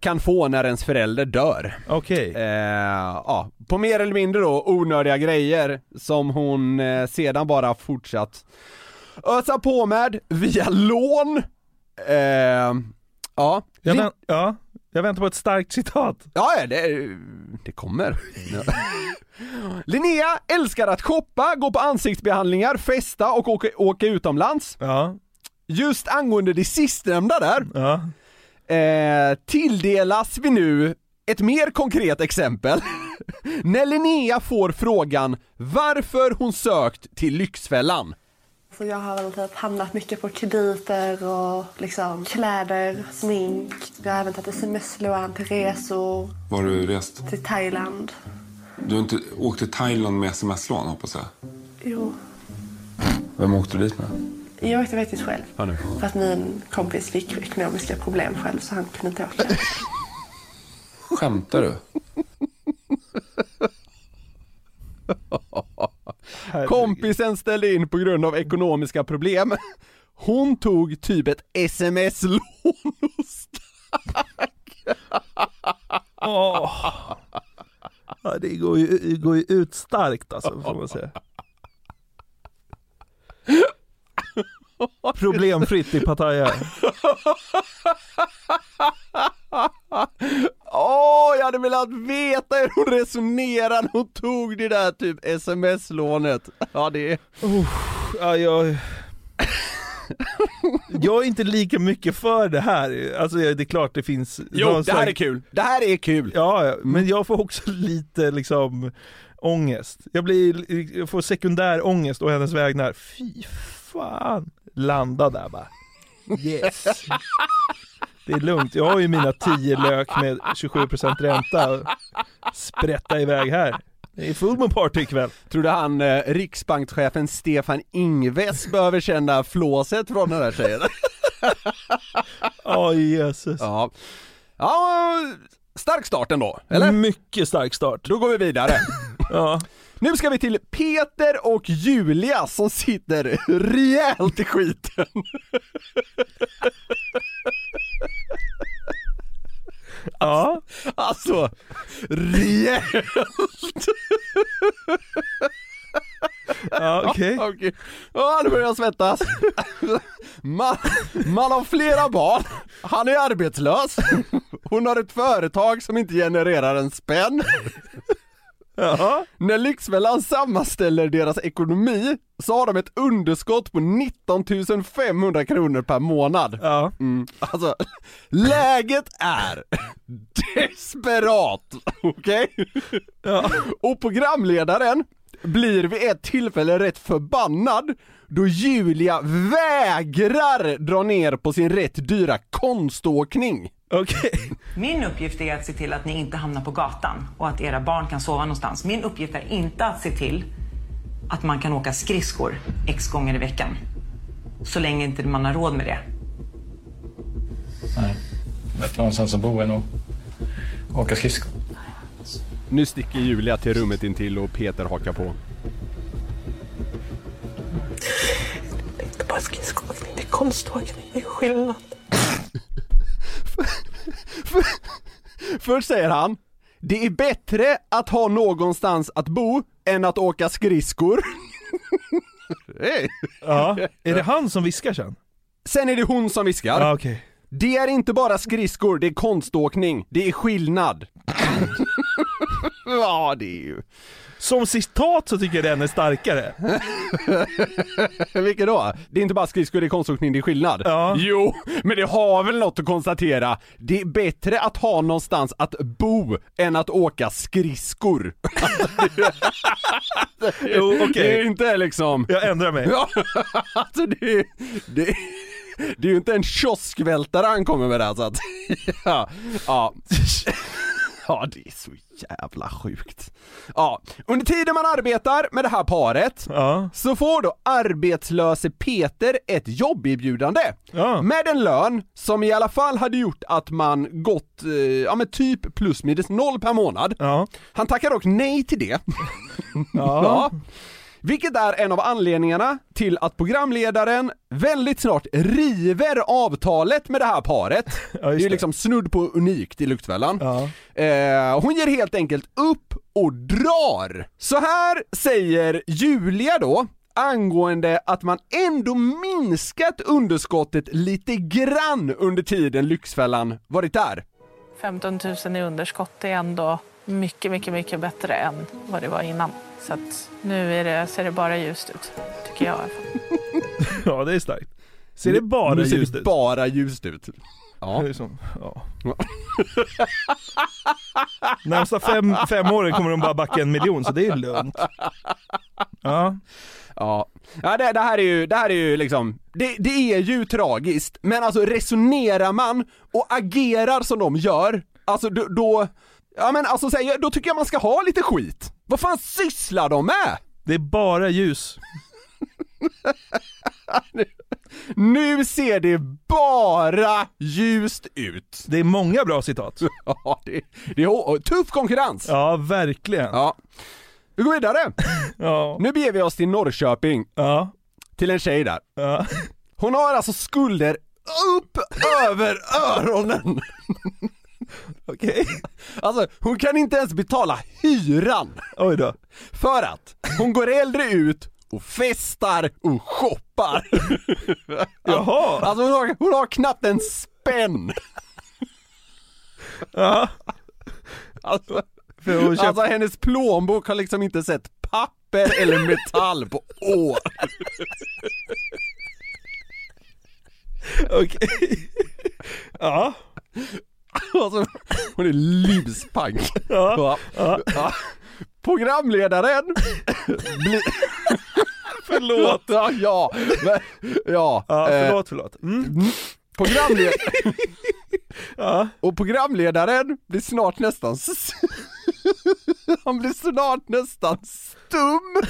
Speaker 4: kan få när ens förälder dör.
Speaker 5: Okej.
Speaker 4: Eh, ja, på mer eller mindre då onödiga grejer som hon eh, sedan bara fortsatt ösa på med via lån. Eh, ja.
Speaker 5: Jag, vänt, ja, jag väntar på ett starkt citat.
Speaker 4: Ja, ja, det, det kommer. Ja. Linnea älskar att shoppa, gå på ansiktsbehandlingar, festa och åka, åka utomlands. Just angående det sistnämnda där, eh, tilldelas vi nu ett mer konkret exempel. När Linnea får frågan varför hon sökt till Lyxfällan.
Speaker 13: Så jag har väl typ handlat mycket på krediter och liksom kläder, smink. Jag har även tagit sms-lån till resor
Speaker 14: Var har du rest?
Speaker 13: till Thailand.
Speaker 14: Du har inte åkt till Thailand med sms-lån hoppas jag?
Speaker 13: Jo,
Speaker 14: Vem åkte du dit med?
Speaker 13: jag åkte faktiskt själv.
Speaker 14: Ja, nu.
Speaker 13: För att min kompis fick ekonomiska problem själv så han kunde inte åka.
Speaker 14: Skämtar du?
Speaker 4: Kompisen ställde in på grund av ekonomiska problem. Hon tog typ ett sms-lån hos
Speaker 5: Ja, det går ju, det går ju ut starkt alltså, får man säga. Problemfritt i Pattaya.
Speaker 4: Åh, jag hade velat veta hur hon resonerade när hon tog det där typ sms-lånet. Ja, det är...
Speaker 5: ja, jag... Jag är inte lika mycket för det här, alltså jag- det är klart det finns
Speaker 4: Jo,
Speaker 5: någon
Speaker 4: det här
Speaker 5: slags-
Speaker 4: är kul. Det här är kul. Mm.
Speaker 5: Ja, ja, men jag får också lite liksom ångest. Jag blir, jag får sekundär ångest och hennes vägnar. Fy fan. Landa där bara. Yes. Det är lugnt, jag har ju mina 10 lök med 27% ränta. Sprätta iväg här. Det är full moon party ikväll.
Speaker 4: Tror du han, eh, riksbankschefen Stefan Ingves behöver känna flåset från den där tjejen?
Speaker 5: Ja, Jesus.
Speaker 4: Ja. ja, stark start ändå, eller?
Speaker 5: Mycket stark start.
Speaker 4: Då går vi vidare.
Speaker 5: ja.
Speaker 4: Nu ska vi till Peter och Julia som sitter rejält i skiten.
Speaker 5: Ja.
Speaker 4: Alltså, rejält!
Speaker 5: Ja, okej.
Speaker 4: Ja, Ja, nu börjar jag svettas. Man, man har flera barn, han är arbetslös, hon har ett företag som inte genererar en spänn. När Lyxfällan sammanställer deras ekonomi så har de ett underskott på 19 500 kronor per månad. Mm. Alltså, läget är desperat, okej? Och programledaren blir vid ett tillfälle rätt förbannad då Julia vägrar dra ner på sin rätt dyra konståkning.
Speaker 5: Okej.
Speaker 15: Min uppgift är att se till att ni inte hamnar på gatan och att era barn kan sova någonstans. Min uppgift är inte att se till att man kan åka skridskor x gånger i veckan. Så länge inte man har råd med det.
Speaker 16: Nej. Bättre någonstans att bo än att åka skridskor.
Speaker 4: Nu sticker Julia till rummet intill och Peter hakar på.
Speaker 13: Det är bara skridskoåkning, det är konståkning, det är skillnad.
Speaker 4: Först säger han, det är bättre att ha någonstans att bo än att åka skridskor. Hej.
Speaker 5: Ja, är det han som viskar sen?
Speaker 4: Sen är det hon som viskar.
Speaker 5: Ja, okej.
Speaker 4: Det är inte bara skridskor, det är konståkning. Det är skillnad. ja, det är ju...
Speaker 5: Som citat så tycker jag den är starkare.
Speaker 4: Vilket då? Det är inte bara skridskor, det är konståkning, det är skillnad. Jo, men det har väl något att konstatera. Det är bättre att ha någonstans att bo än att åka skridskor.
Speaker 5: Jo, okej.
Speaker 4: Det är inte liksom...
Speaker 5: Jag ändrar mig.
Speaker 4: Ja, alltså det, det, det är ju inte en kioskvältare han kommer med där så att, ja, ja. Ja, det är så jävla sjukt. Ja, under tiden man arbetar med det här paret så får då arbetslöse Peter ett jobberbjudande med en lön som i alla fall hade gjort att man gått, eh, ja men typ plus minus noll per månad. Han tackar dock nej till det. Ja. Vilket är en av anledningarna till att programledaren väldigt snart river avtalet med det här paret. det är ju liksom snudd på unikt i Luktfällan. Eh, hon ger helt enkelt upp och drar! Så här säger Julia då, angående att man ändå minskat underskottet lite grann under tiden Lyxfällan varit där.
Speaker 17: 15 000 i underskott är ändå mycket, mycket, mycket bättre än vad det var innan. Så att nu är det, ser det bara ljust ut, tycker jag.
Speaker 5: Ja, det är starkt. Ser det bara
Speaker 4: nu ser
Speaker 5: ljust
Speaker 4: det
Speaker 5: ut?
Speaker 4: bara ljust ut. Ja.
Speaker 5: Det är som, ja. Närmsta fem, fem åren kommer de bara backa en miljon, så det är lugnt.
Speaker 4: Ja. Ja, det, det här är ju, det här är ju liksom, det, det är ju tragiskt, men alltså resonerar man och agerar som de gör, alltså då, då ja men alltså så här, jag- då tycker jag man ska ha lite skit. Vad fan sysslar de med?
Speaker 5: Det är bara ljus.
Speaker 4: Nu ser det bara ljust ut.
Speaker 5: Det är många bra citat.
Speaker 4: Ja, det, det är hå- tuff konkurrens.
Speaker 5: Ja, verkligen.
Speaker 4: Ja. Vi går vidare.
Speaker 5: ja.
Speaker 4: Nu beger vi oss till Norrköping.
Speaker 5: Ja.
Speaker 4: Till en tjej där.
Speaker 5: Ja.
Speaker 4: Hon har alltså skulder upp över öronen.
Speaker 5: Okej.
Speaker 4: Alltså, hon kan inte ens betala hyran.
Speaker 5: Oj då.
Speaker 4: För att hon går äldre ut och festar och shoppar.
Speaker 5: Jaha.
Speaker 4: Alltså hon har, hon har knappt en spänn.
Speaker 5: Ja.
Speaker 4: Alltså,
Speaker 5: För hon köpt-
Speaker 4: alltså hennes plånbok har liksom inte sett papper eller metall på år.
Speaker 5: Okej. Ja.
Speaker 4: Alltså, hon är livspank. Ja. Ja. Programledaren blir...
Speaker 5: Förlåt.
Speaker 4: Ja, ja. Men, ja.
Speaker 5: Ja,
Speaker 4: eh,
Speaker 5: förlåt, förlåt. Mm.
Speaker 4: Programled... Och programledaren blir snart nästan... s- Han blir snart nästan stum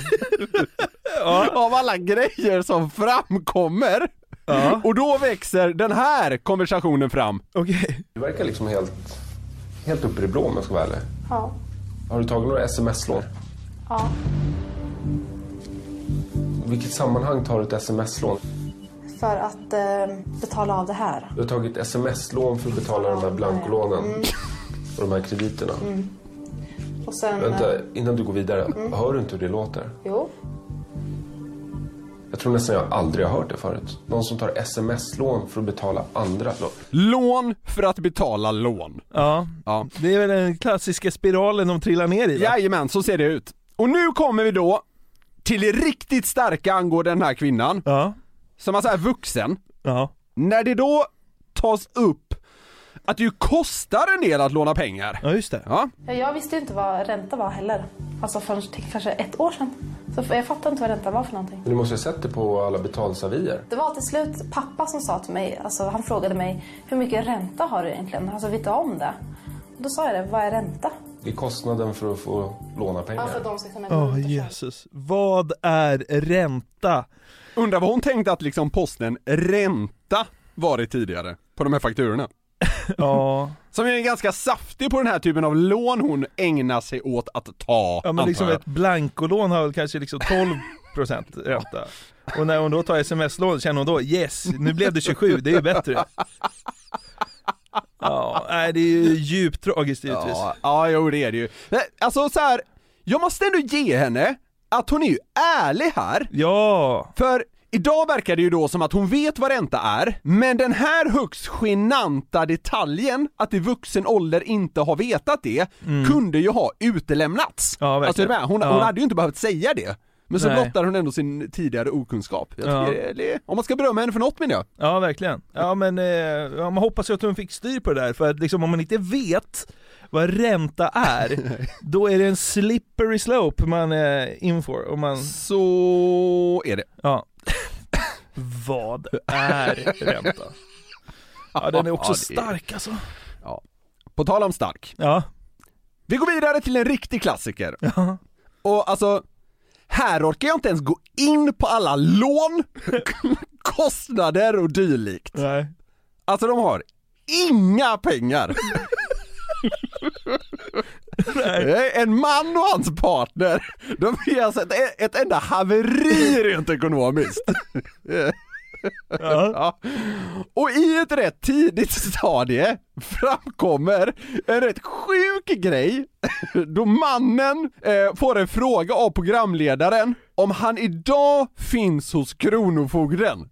Speaker 4: av alla grejer som framkommer.
Speaker 5: Ja.
Speaker 4: Och då växer den här konversationen fram.
Speaker 5: Okej.
Speaker 14: Du verkar liksom helt, helt uppe i det blå om jag ska vara ärlig.
Speaker 13: Ja.
Speaker 14: Har du tagit några sms-lån?
Speaker 13: Ja.
Speaker 14: I vilket sammanhang tar du ett sms-lån?
Speaker 13: För att eh, betala av det här.
Speaker 14: Du har tagit sms-lån för att betala de här blankolånen och de här krediterna.
Speaker 13: Mm. Och sen... eh,
Speaker 14: Vänta, innan du går vidare.
Speaker 13: Mm.
Speaker 14: Hör du inte hur det låter?
Speaker 13: Jo.
Speaker 14: Jag tror nästan jag aldrig har hört det förut. Någon som tar sms-lån för att betala andra lån.
Speaker 4: Lån för att betala lån.
Speaker 5: Ja.
Speaker 4: Ja.
Speaker 5: Det är väl den klassiska spiralen de trillar ner i va?
Speaker 4: Jajamän, så ser det ut. Och nu kommer vi då till det riktigt starka angående den här kvinnan. Som alltså är vuxen. När det då tas upp att det ju kostar en del att låna pengar.
Speaker 5: Ja, just det.
Speaker 4: Ja.
Speaker 13: Ja, Jag visste ju inte vad ränta var heller. Alltså förrän till kanske ett år sedan. Så jag fattade inte vad ränta var för någonting.
Speaker 14: Men du måste ju ha sett det på alla betalsavier.
Speaker 13: Det var till slut pappa som sa till mig, alltså han frågade mig hur mycket ränta har du egentligen? Alltså vet du om det? Och då sa jag det, vad är ränta?
Speaker 14: Det är kostnaden för att få låna pengar.
Speaker 13: de ska kunna
Speaker 5: Ja, Jesus. Vad är ränta?
Speaker 4: Undrar vad hon tänkte att liksom posten ränta varit tidigare på de här fakturorna.
Speaker 5: Ja.
Speaker 4: Som är ganska saftig på den här typen av lån hon ägnar sig åt att ta,
Speaker 5: Ja men
Speaker 4: antar
Speaker 5: liksom
Speaker 4: jag.
Speaker 5: ett blankolån har väl kanske liksom 12% ränta. Och när hon då tar sms-lån känner hon då yes, nu blev det 27, det är ju bättre. Ja, nej det är ju djupt tragiskt givetvis.
Speaker 4: Ja, ja jo det är det ju. Men, Alltså så här, jag måste ändå ge henne att hon är ju ärlig här.
Speaker 5: Ja!
Speaker 4: För idag verkar det ju då som att hon vet vad ränta är, men den här högst genanta detaljen, att i vuxen ålder inte ha vetat det, kunde ju ha utelämnats.
Speaker 5: Mm. Ja, verkligen.
Speaker 4: alltså är du med? Hon,
Speaker 5: Ja.
Speaker 4: hon hade ju inte behövt säga det. Men så
Speaker 5: Nej.
Speaker 4: blottar hon ändå sin tidigare okunskap. Jag
Speaker 5: Ja.
Speaker 4: tycker det är- det är- Om man ska berömma henne för något menar jag.
Speaker 5: Ja verkligen. Ja men eh, ja, man hoppas ju att hon fick styr på det där för att liksom om man inte vet vad ränta är, då är det en slippery slope man är in for. Och man...
Speaker 4: Så är det.
Speaker 5: Ja. vad är ränta? Ja den är också
Speaker 4: Ja, det är-
Speaker 5: stark alltså.
Speaker 4: Ja. På tal om stark.
Speaker 5: Ja.
Speaker 4: Vi går vidare till en riktig klassiker. Och alltså, här orkar jag inte ens gå in på alla lån, kostnader och dylikt.
Speaker 5: Nej.
Speaker 4: Alltså de har inga pengar. Nej, En man och hans partner, de är alltså ett, ett enda haveri rent ekonomiskt. Ja. Och i ett rätt tidigt stadie framkommer en rätt sjuk grej då mannen eh, får en fråga av programledaren om han idag finns hos Kronofogden.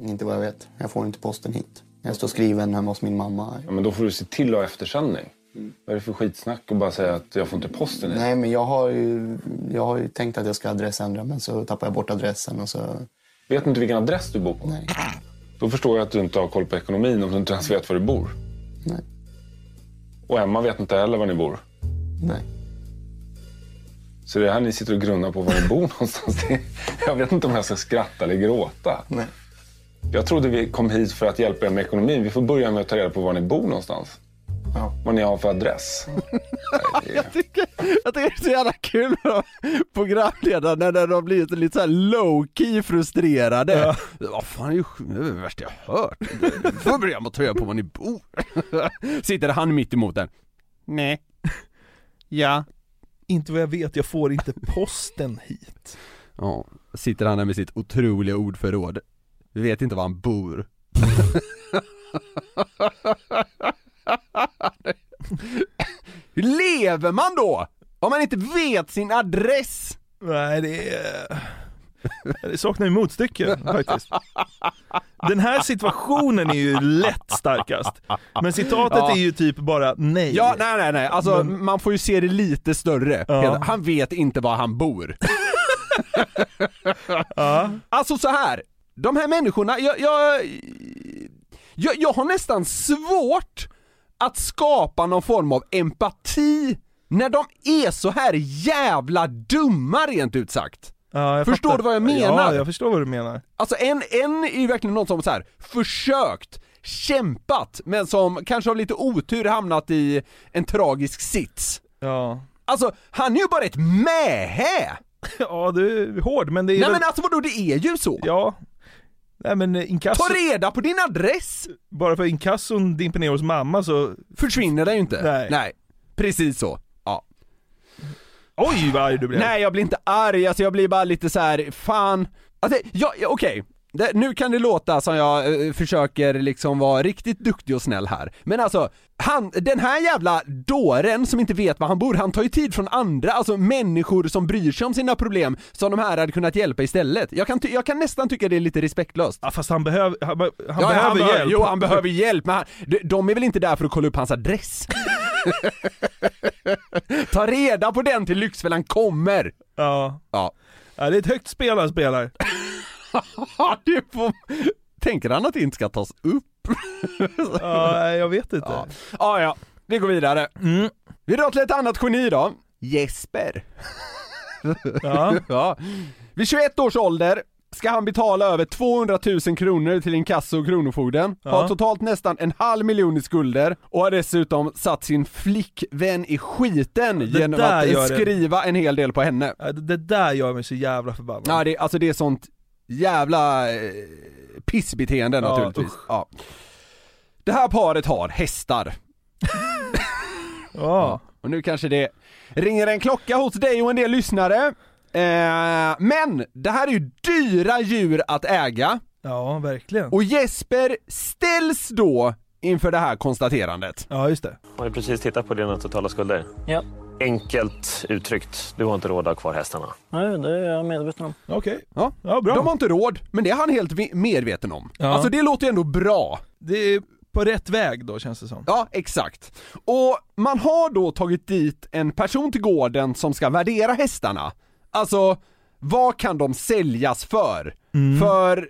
Speaker 18: Inte vad jag vet. Jag får inte posten hit. Jag står skriven hemma hos min mamma.
Speaker 14: Ja, men då får du se till att ha eftersändning.
Speaker 19: Mm.
Speaker 14: Vad är det för skitsnack att bara säga att jag får inte posten hit?
Speaker 18: Nej, men jag har ju, jag har ju tänkt att jag ska adressändra men så tappar jag bort adressen och så...
Speaker 14: Vet du inte vilken adress du bor på?
Speaker 18: Nej.
Speaker 14: Då förstår jag att du inte har koll på ekonomin om du inte ens vet var du bor.
Speaker 18: Nej.
Speaker 14: Och Emma vet inte heller var ni bor.
Speaker 18: Nej.
Speaker 14: Så det är här ni sitter och grunnar på var ni bor någonstans. Det- Jag vet inte om jag ska skratta eller gråta.
Speaker 18: Nej.
Speaker 14: Jag trodde vi kom hit för att hjälpa er med ekonomin. Vi får börja med att ta reda på var ni bor någonstans.
Speaker 18: Ja.
Speaker 14: Vad ni har för adress.
Speaker 4: Jag tycker, jag tycker det är så jävla kul med de programledarna när de har blivit lite såhär low-key frustrerade. Vad fan är ju sj- det är det värsta jag hört. Du får börja med att ta reda på var ni bor. Sitter han mitt emot den. Nej. Ja.
Speaker 5: Inte vad jag vet, jag får inte posten hit.
Speaker 4: Ja, sitter han där med sitt otroliga ordförråd. Vi vet inte var han bor. Hur lever man då? Om man inte vet sin adress?
Speaker 5: Nej, det är... Det saknar ju motstycke faktiskt. Den här situationen är ju lätt starkast. Men citatet
Speaker 4: Ja.
Speaker 5: är ju typ bara nej.
Speaker 4: Ja, nej nej nej, alltså man får ju se det lite större.
Speaker 5: Ja.
Speaker 4: Han vet inte var han bor. Alltså så här. de här människorna, jag, jag, jag, jag har nästan svårt att skapa någon form av empati när de är så här jävla dumma rent ut sagt.
Speaker 5: Ja, jag
Speaker 4: Förstår
Speaker 5: fattar.
Speaker 4: du vad jag menar?
Speaker 5: Ja, jag förstår vad du menar.
Speaker 4: Alltså en, en är ju verkligen någon som så här försökt, kämpat, men som kanske av lite otur hamnat i en tragisk sits.
Speaker 5: Ja.
Speaker 4: Alltså, han är ju bara ett mähä!
Speaker 5: Ja, du är hård men det är
Speaker 4: Nej
Speaker 5: väl-
Speaker 4: men alltså vadå, det är ju så!
Speaker 5: Ja. Nej men eh, inkasso...
Speaker 4: Ta reda på din adress!
Speaker 5: Bara för inkasson dimper ner hos mamma så...
Speaker 4: Försvinner det ju inte.
Speaker 5: Nej.
Speaker 4: Nej. Precis så. Ja.
Speaker 5: Oj vad arg du blev.
Speaker 4: Nej jag blir inte arg, alltså jag blir bara lite så här, fan. Alltså, jag, jag- okej. Det, nu kan det låta som jag eh, försöker liksom vara riktigt duktig och snäll här. Men alltså, han, den här jävla dåren som inte vet var han bor, han tar ju tid från andra, alltså människor som bryr sig om sina problem, som de här hade kunnat hjälpa istället. Jag kan, ty- jag kan nästan tycka det är lite respektlöst.
Speaker 5: Ja, fast han behöver, han, be- han
Speaker 4: ja,
Speaker 5: behöver
Speaker 4: han behöver-
Speaker 5: hjälp.
Speaker 4: Jo, han behöver hjälp, men han, de, de är väl inte där för att kolla upp hans adress? Ta reda på den till Lyxfällan kommer!
Speaker 5: Ja.
Speaker 4: Ja.
Speaker 5: ja, det är ett högt spel han spelar.
Speaker 4: det får... Tänker han att det inte ska tas upp?
Speaker 5: Ja, nej, jag vet inte.
Speaker 4: Ja, ja, ja. vi går vidare.
Speaker 5: Mm.
Speaker 4: Vi drar till ett annat geni då. Jesper.
Speaker 5: Ja.
Speaker 4: Vid 21 års ålder ska han betala över 200 000 kronor till inkasso och kronofogden,
Speaker 5: Ja.
Speaker 4: har totalt nästan en halv miljon i skulder och har dessutom satt sin flickvän i skiten genom
Speaker 5: där gör
Speaker 4: att
Speaker 5: det.
Speaker 4: skriva en hel del på henne.
Speaker 5: Ja, det, det där gör mig så jävla förbannad.
Speaker 4: Ja, det, alltså det är sånt jävla eh, pissbeteende
Speaker 5: Ja,
Speaker 4: naturligtvis. Ja. Det här paret har hästar.
Speaker 5: ja.
Speaker 4: Och nu kanske det ringer en klocka hos dig och en del lyssnare. Eh, men det här är ju dyra djur att äga.
Speaker 5: Ja, verkligen.
Speaker 4: Och Jesper ställs då inför det här konstaterandet.
Speaker 5: Ja, just det.
Speaker 20: Har du precis tittat på dina totala skulder?
Speaker 19: Ja.
Speaker 20: Enkelt uttryckt, du har inte råd att ha kvar hästarna.
Speaker 19: Nej, det är jag medveten om.
Speaker 5: Okej.
Speaker 4: Ja.
Speaker 5: bra.
Speaker 4: De har inte råd, men det är han helt vi- medveten om.
Speaker 5: Ja.
Speaker 4: Alltså det låter ju ändå bra.
Speaker 5: Det är på rätt väg då känns det som.
Speaker 4: Ja, exakt. Och man har då tagit dit en person till gården som ska värdera hästarna. Alltså, vad kan de säljas för?
Speaker 5: Mm.
Speaker 4: För eh,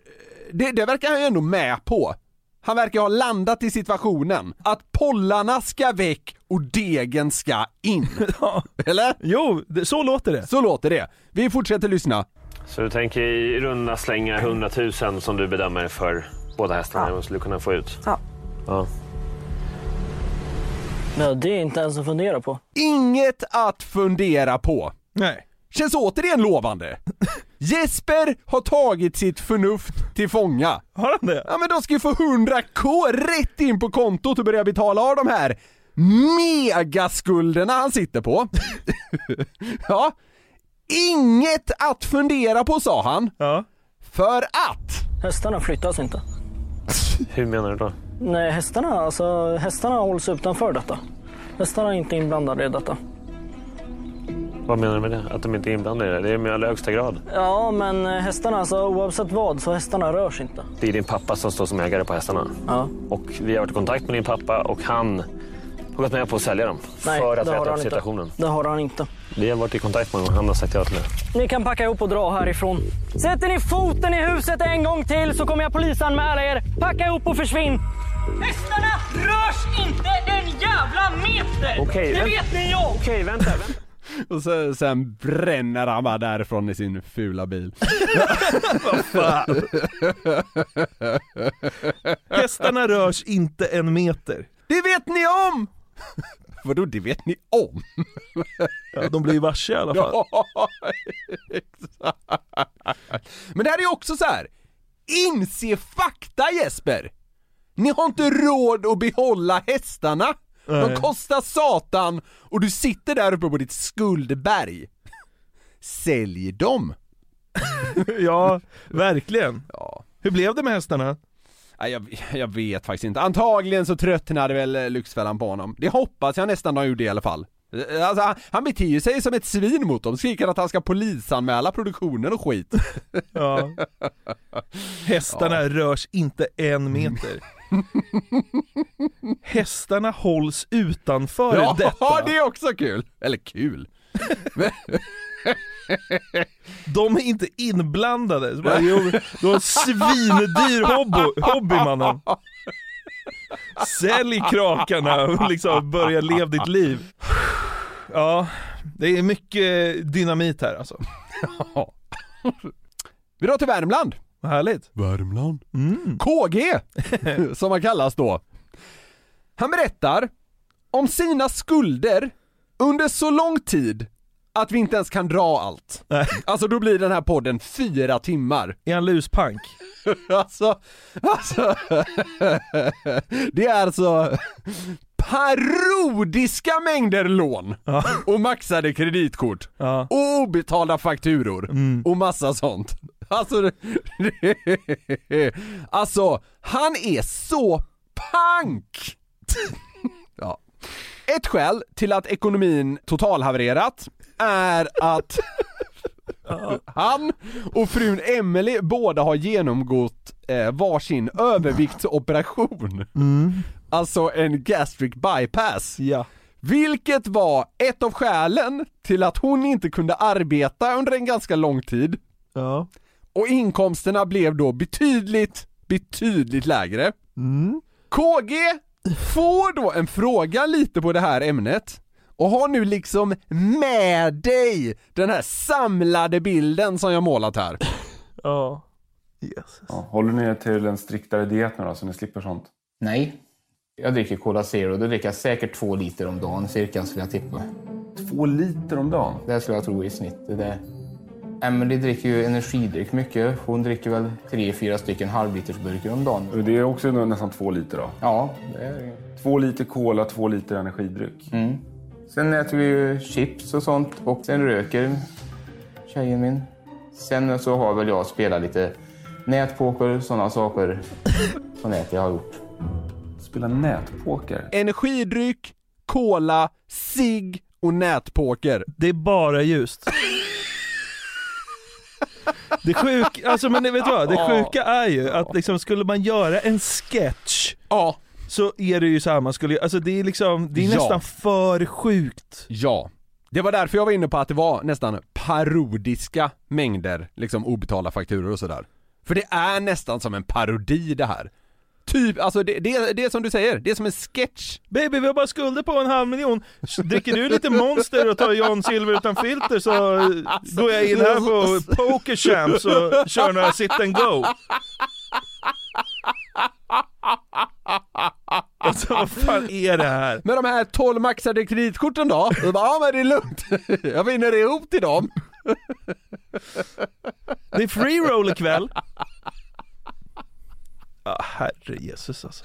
Speaker 4: det, det verkar han ju ändå med på. Han verkar ha landat i situationen. Att pollarna ska väck och degen ska in. Eller?
Speaker 5: Jo, så låter det.
Speaker 4: Så låter det. Vi fortsätter lyssna.
Speaker 20: Så du tänker i runda slängar 100 000 som du bedömer för båda hästarna ja. skulle kunna få ut?
Speaker 19: Ja.
Speaker 20: ja.
Speaker 19: Nej, det är inte ens att fundera på.
Speaker 4: Inget att fundera på.
Speaker 5: Nej.
Speaker 4: Känns återigen lovande. Jesper har tagit sitt förnuft till fånga.
Speaker 5: Har han det?
Speaker 4: Ja men de ska ju få 100k rätt in på kontot och börja betala av de här megaskulderna han sitter på. ja. Inget att fundera på sa han. För att...
Speaker 19: Hästarna flyttas inte.
Speaker 20: Hur menar du då?
Speaker 19: Nej, hästarna, alltså, hästarna hålls utanför detta. Hästarna är inte inblandade i detta.
Speaker 20: Vad menar du med det? Att de inte är inblandade i det? Det är med allra högsta grad.
Speaker 19: Ja, men hästarna, alltså, oavsett vad, så hästarna rörs inte.
Speaker 20: Det är din pappa som står som ägare på hästarna.
Speaker 19: Ja.
Speaker 20: Och vi har varit i kontakt med din pappa och han har gått med på att sälja dem.
Speaker 19: Nej,
Speaker 20: för att
Speaker 19: det
Speaker 20: rätta
Speaker 19: har han
Speaker 20: upp
Speaker 19: inte.
Speaker 20: situationen.
Speaker 19: Det har han inte.
Speaker 20: Vi har varit i kontakt med honom och han har sagt ja till det.
Speaker 19: Ni kan packa ihop och dra härifrån. Sätter ni foten i huset en gång till så kommer jag polisanmäla er. Packa ihop och försvinn.
Speaker 15: Hästarna rörs inte en jävla meter!
Speaker 20: Okej,
Speaker 15: det
Speaker 20: vänt-
Speaker 15: vet ni jag!
Speaker 20: Okej, vänta, vänta.
Speaker 4: Och sen, sen bränner han bara därifrån i sin fula bil. Vad fan?
Speaker 5: Hästarna rörs inte en meter.
Speaker 4: Det vet ni om! Vadå, det vet ni om?
Speaker 5: Ja, de blir ju varse i alla fall.
Speaker 4: Ja, exakt. Men det här är ju också så här. inse fakta Jesper! Ni har inte råd att behålla hästarna, de
Speaker 5: Nej.
Speaker 4: kostar satan och du sitter där uppe på ditt skuldberg. Sälj dem!
Speaker 5: ja, verkligen. Hur blev det med hästarna?
Speaker 4: Nej, jag, jag vet faktiskt inte. Antagligen så tröttnade väl eh, Lyxfällan på honom. Det hoppas jag nästan de gjorde i alla fall. Eh, Alltså, han, han beter ju sig som ett svin mot dem, skriker att han ska polisanmäla produktionen och skit.
Speaker 5: Ja. Hästarna rörs inte
Speaker 4: Mm.
Speaker 5: en meter. Hästarna hålls utanför
Speaker 4: Ja,
Speaker 5: detta.
Speaker 4: det är också kul! Eller kul.
Speaker 5: De är inte inblandade. Så bara, jo, du har en svindyr hobby, hobby mannen. Sälj krakarna och liksom börja leva ditt liv. Ja, det är mycket dynamit här alltså.
Speaker 4: Vi drar till Värmland. Mm.
Speaker 5: Vad härligt.
Speaker 4: Värmland. KG, som han kallas då. Han berättar om sina skulder under så lång tid att vi inte ens kan dra allt. Alltså då blir den här podden fyra timmar.
Speaker 5: Är han luspank?
Speaker 4: alltså, alltså. det är alltså parodiska mängder lån och maxade kreditkort och obetalda fakturor
Speaker 5: Mm.
Speaker 4: och massa sånt. Alltså, det- det- alltså, han är så pank! Ja. Ett skäl till att ekonomin totalhavererat är att han och frun Emily båda har genomgått eh, varsin överviktsoperation. Alltså en gastric bypass.
Speaker 5: Ja.
Speaker 4: Vilket var ett av skälen till att hon inte kunde arbeta under en ganska lång tid. Och inkomsterna blev då betydligt, betydligt lägre.
Speaker 5: Mm.
Speaker 4: KG får då en fråga lite på det här ämnet och har nu liksom med dig den här samlade bilden som jag målat här.
Speaker 5: Ja.
Speaker 14: Ja, håller ni er till en striktare diet nu då, så ni slipper sånt?
Speaker 16: Nej. Jag dricker Cola Zero. Då dricker jag säkert två liter om dagen, cirka, skulle jag tippa.
Speaker 14: Två liter om dagen?
Speaker 16: Det skulle jag tro i snitt. Det där. Emily dricker ju energidryck mycket. Hon dricker väl tre, fyra stycken halvlitersburkar om dagen.
Speaker 14: Det är också nästan två liter då?
Speaker 16: Ja, det är
Speaker 14: Två liter cola, två liter energidryck.
Speaker 16: Mm. Sen äter vi ju chips och sånt och sen röker tjejen min. Sen så har väl jag spelat lite nätpoker, sådana saker på nätet jag har gjort.
Speaker 14: Spela nätpoker?
Speaker 4: Energidryck, cola, sig och nätpoker.
Speaker 5: Det är bara ljust. Det sjuka, alltså men det- vet du vad? Det sjuka är ju att liksom skulle man göra en sketch Så är det ju så här man skulle, alltså det är liksom, det är
Speaker 4: Ja.
Speaker 5: nästan för sjukt.
Speaker 4: Ja. Det var därför jag var inne på att det var nästan parodiska mängder liksom obetalda fakturor och sådär. För det är nästan som en parodi det här. Typ, alltså det, det, det är som du säger, det är som en sketch.
Speaker 5: Baby vi har bara skulder på en halv miljon, dricker du lite monster och tar John Silver utan filter så går jag in här på Poker Champs och kör några sit and go. Alltså vad fan är det här?
Speaker 4: Med de här 12 maxade kreditkorten då? Och bara, ja men det är lugnt. Jag vinner ihop till dem.
Speaker 5: Det är free roll ikväll. Ja, herre Jesus alltså.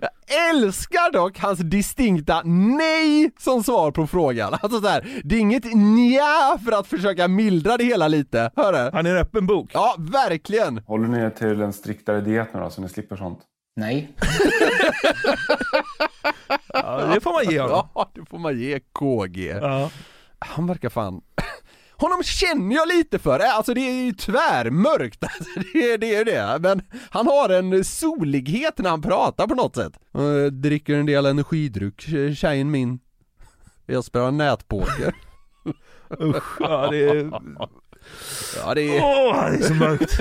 Speaker 4: Jag älskar dock hans distinkta nej som svar på frågan. Alltså så här, det är inget nja för att försöka mildra det hela lite. Hör du?
Speaker 5: Han är en öppen bok.
Speaker 4: Ja, verkligen.
Speaker 14: Håller ni er till en striktare diet nu då, så ni slipper sånt?
Speaker 16: Nej.
Speaker 4: Ja,
Speaker 5: det får man ge honom.
Speaker 4: Ja, det får man ge KG. Han verkar fan... Honom känner jag lite för, alltså det är ju tvärmörkt, alltså, det, är- det är ju det. Men han har en solighet när han pratar på något sätt. Eh, dricker en del energidryck, tjejen min. Jag spelar nätpoker.
Speaker 5: Usch, ja det är...
Speaker 4: Ja det är...
Speaker 5: Åh, det är så mörkt.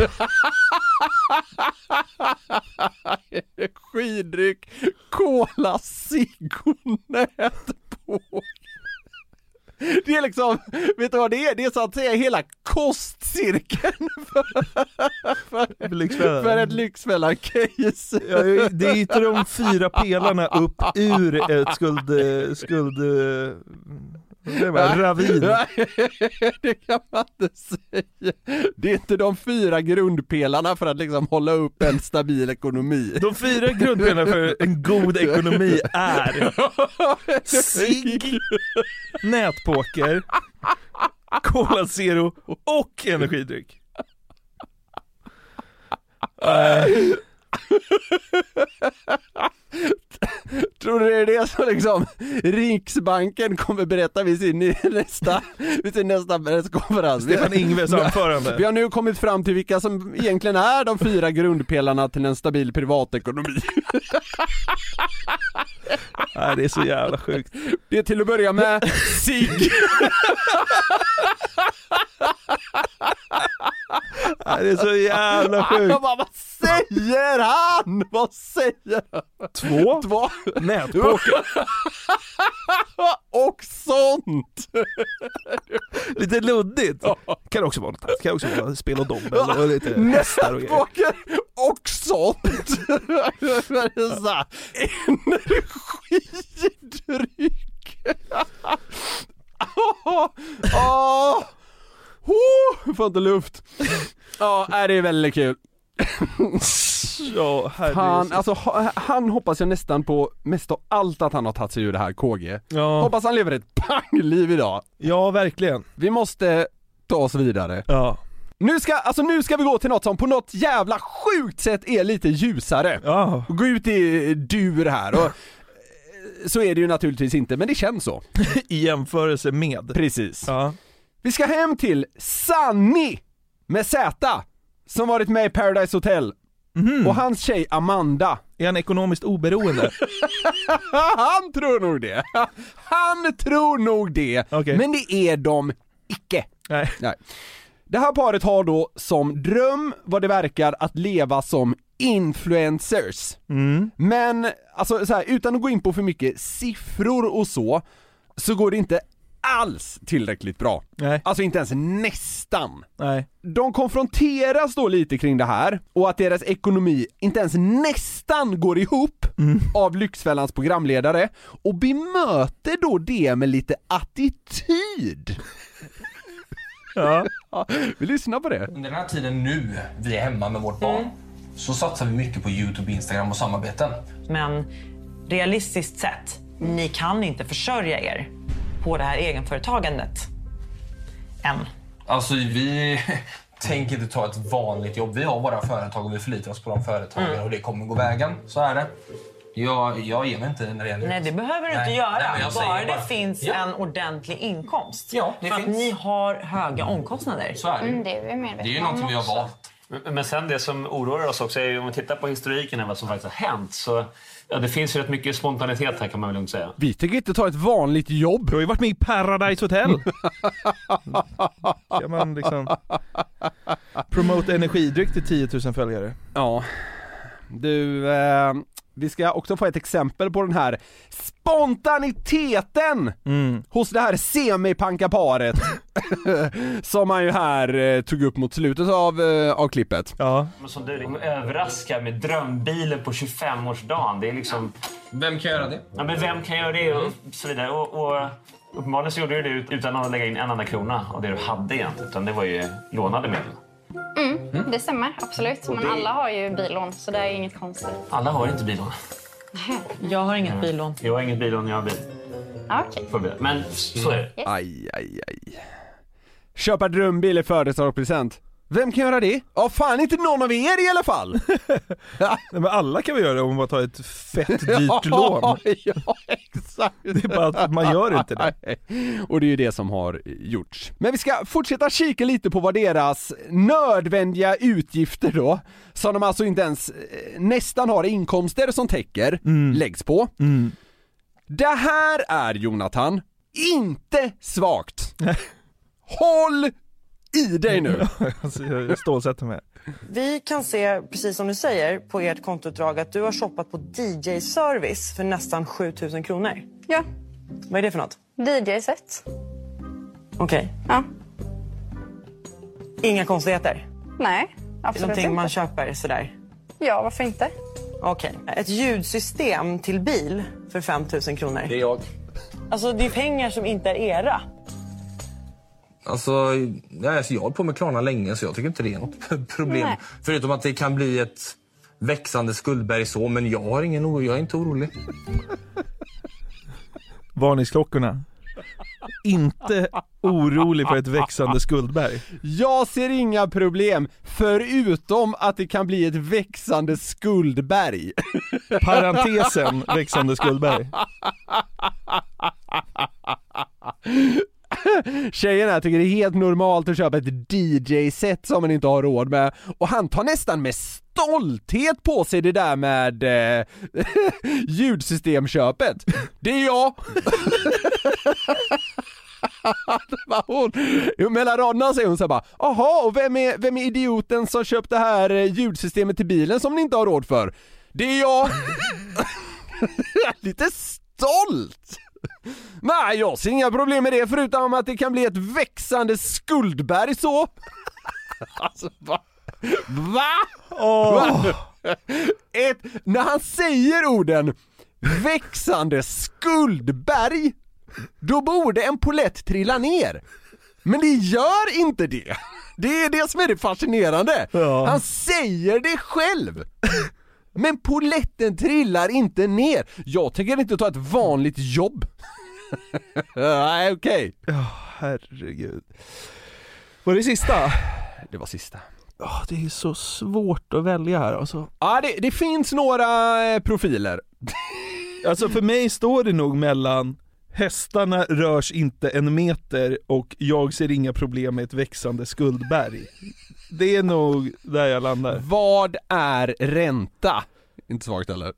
Speaker 4: Energidryck, cola, cigg och nätpoker. Det är liksom, vet du vad det är? Det är så att säga hela kostcirkeln för, för,
Speaker 5: Lyxfällan.
Speaker 4: för ett Lyxfällan-case.
Speaker 5: Ja, det är ju inte de fyra pelarna upp ur ett skuld... eh, skuld eh, vad säger man? ravin.
Speaker 4: Nej, det kan man inte säga. Det är inte de fyra grundpelarna för att liksom hålla upp en stabil ekonomi.
Speaker 5: De fyra grundpelarna för en god ekonomi är cigg, nätpoker, Cola Zero och energidryck. Nej.
Speaker 4: Tror du det är det som liksom Riksbanken kommer berätta vid sin ny- nästa, vid sin nästa presskonferens?
Speaker 5: Stefan Ingves anförande.
Speaker 4: Vi har nu kommit fram till vilka som egentligen är de fyra grundpelarna till en stabil privatekonomi.
Speaker 5: Nej, det är så jävla sjukt.
Speaker 4: Det är till att börja med cigg.
Speaker 5: Nej, det är så jävla sjukt.
Speaker 4: Jag bara, vad säger han? Vad säger han?
Speaker 5: Två,
Speaker 4: Två.
Speaker 5: nätpoker.
Speaker 4: Och sånt!
Speaker 5: Lite luddigt. Kan också vara något Kan också vara spel och dobbel och lite hästar och grejer.
Speaker 4: Nätpoker och sånt! Det är så här, Energidryck! Åh! Åh! Oh, får inte luft. Ja, nej, det är väldigt kul.
Speaker 5: Ja, herregud.
Speaker 4: Han, alltså, ha- han hoppas jag nästan på mest av allt att han har tagit sig ur det här KG.
Speaker 5: Ja.
Speaker 4: Hoppas han lever ett pangliv idag.
Speaker 5: Ja, verkligen.
Speaker 4: Vi måste ta oss vidare.
Speaker 5: Ja.
Speaker 4: Nu ska, alltså nu ska vi gå till något som på något jävla sjukt sätt är lite ljusare.
Speaker 5: Ja.
Speaker 4: Gå ut i dur här och eh, så är det ju naturligtvis inte, men det känns så.
Speaker 5: I jämförelse med.
Speaker 4: Precis.
Speaker 5: Ja.
Speaker 4: Vi ska hem till Sanni med Z som varit med i Paradise Hotel. Och hans tjej Amanda.
Speaker 5: Mhm. Är han ekonomiskt oberoende?
Speaker 4: han tror nog det. Han tror nog det. Men det är de icke.
Speaker 5: Nej.
Speaker 4: Det här paret har då som dröm vad det verkar att leva som influencers.
Speaker 5: Mm.
Speaker 4: Men, alltså så här, utan att gå in på för mycket siffror och så, så går det inte alls tillräckligt bra.
Speaker 5: Nej.
Speaker 4: Alltså inte ens nästan.
Speaker 5: Nej.
Speaker 4: De konfronteras då lite kring det här och att deras ekonomi inte ens nästan går ihop
Speaker 5: Mm.
Speaker 4: av Lyxfällans programledare och bemöter då det med lite attityd.
Speaker 5: Ja.
Speaker 4: Vi lyssnar på det.
Speaker 21: Under den här tiden nu, vi är hemma med vårt barn,
Speaker 15: Mm.
Speaker 21: så satsar vi mycket på Youtube, Instagram och samarbeten.
Speaker 15: Men realistiskt sett, ni kan inte försörja er på det här egenföretagandet. Än.
Speaker 21: Alltså vi tänker inte ta ett vanligt jobb. Vi har våra företag och vi förlitar oss på de företagen
Speaker 15: Mm.
Speaker 21: och det kommer gå vägen. Så är det. Jag, jag ger mig inte när det gäller
Speaker 15: Nej, det behöver du
Speaker 21: Nej.
Speaker 15: inte göra.
Speaker 21: Nej, men jag säger
Speaker 15: bara det
Speaker 21: bara-
Speaker 15: finns
Speaker 21: Ja.
Speaker 15: en ordentlig inkomst.
Speaker 21: Ja, det
Speaker 15: För att
Speaker 21: finns.
Speaker 15: ni har höga omkostnader.
Speaker 21: Så är det. Mm,
Speaker 15: det är vi medvetna
Speaker 21: valt.
Speaker 20: Men- Men sen det som oroar oss också är ju om vi tittar på historiken här, vad som faktiskt har hänt. Så ja, det finns ju rätt mycket spontanitet här kan man väl lugnt säga.
Speaker 4: Vi tänker inte ta ett vanligt jobb. Mm. Du
Speaker 5: har ju varit med i Paradise Hotel. Kan man liksom promote energidryck till 10 000 följare?
Speaker 4: Ja. Du, eh, vi ska också få ett exempel på den här spontaniteten
Speaker 5: Mm.
Speaker 4: hos det här semipankaparet som man ju här eh, tog upp mot slutet av, eh, av klippet.
Speaker 5: Ja.
Speaker 20: Men som du liksom överraskar med drömbilen på 25-årsdagen. Det är liksom...
Speaker 21: Vem kan göra det?
Speaker 20: Ja, men vem kan göra det? Och så vidare. Och, och uppenbarligen så gjorde du det ut- utan att lägga in en enda krona av det du hade egentligen. Utan det var ju lånade medel.
Speaker 22: Mm, det stämmer absolut.
Speaker 20: Och
Speaker 22: Men
Speaker 20: det-
Speaker 22: alla har ju bilån så det är inget konstigt.
Speaker 20: Alla har inte bilån.
Speaker 17: Jag har inget
Speaker 20: Mm.
Speaker 17: billån.
Speaker 20: Jag har inget billån, jag har bil.
Speaker 17: Okej.
Speaker 20: Får bil. Men så är det.
Speaker 4: Aj, aj, aj. Köpa drömbil i födelsedagspresent. Vem kan göra det? Ja, fan inte någon av er i alla fall!
Speaker 5: Nej, men alla kan vi göra det om man bara tar ett fett dyrt
Speaker 4: Ja,
Speaker 5: lån.
Speaker 4: ja, exakt.
Speaker 5: Det är bara att man gör inte det.
Speaker 4: Och det är ju det som har gjorts. Men vi ska fortsätta kika lite på vad deras nödvändiga utgifter då, som de alltså inte ens eh, nästan har inkomster som täcker,
Speaker 5: Mm.
Speaker 4: läggs på. Det här är Jonathan, inte svagt. Håll i dig nu!
Speaker 5: Alltså, jag stålsätter mig.
Speaker 2: Vi kan se, precis som du säger, på ert kontoutdrag att du har shoppat på DJ-service för nästan 7 000 kronor.
Speaker 22: Ja.
Speaker 2: Vad är det för något?
Speaker 22: DJ-set?
Speaker 2: Okej.
Speaker 22: Ja.
Speaker 2: Inga konstigheter?
Speaker 22: Nej, absolut
Speaker 2: Någonting
Speaker 22: inte.
Speaker 2: man köper sådär?
Speaker 22: Ja, varför inte?
Speaker 2: Okej. Ett ljudsystem till bil för 5 000 kronor? Det
Speaker 21: är jag.
Speaker 2: Alltså, det är pengar som inte är era.
Speaker 21: Alltså, nej, alltså jag har hållit på med Klarna länge så jag tycker inte det är något problem.
Speaker 2: Nej.
Speaker 21: Förutom att det kan bli ett växande skuldberg så, men jag har ingen oro, jag är inte orolig.
Speaker 5: Varningsklockorna. Inte orolig för ett växande skuldberg.
Speaker 4: Jag ser inga problem, förutom att det kan bli ett växande skuldberg.
Speaker 5: Parentesen, växande skuldberg.
Speaker 4: Tjejen här tycker det är helt normalt att köpa ett DJ-set som man inte har råd med och han tar nästan med stolthet på sig det där med eh, ljudsystemköpet. Det är jag! Det var hon. Jo, Mellan raderna säger hon så här bara ”Jaha, och vem är, vem är idioten som köpt det här eh, ljudsystemet till bilen som ni inte har råd för?” ”Det är jag!” Lite stolt! Nej, jag ser inga problem med det förutom att det kan bli ett växande skuldberg så. alltså va? Va? Va? Ett, när han säger orden växande skuldberg, då borde en polett trilla ner. Men det gör inte det. Det är det som är det fascinerande. Han säger det själv. Men poletten trillar inte ner. Jag tänker inte ta ett vanligt jobb. Nej, okej.
Speaker 5: herregud. Var det sista?
Speaker 4: Det var sista.
Speaker 5: Ja, det är så svårt att välja här alltså.
Speaker 4: Ja, det, det finns några eh, profiler.
Speaker 5: Alltså för mig står det nog mellan Hästarna rörs inte en meter och jag ser inga problem med ett växande skuldberg. Det är nog där jag landar.
Speaker 4: Vad är ränta? Inte svagt eller?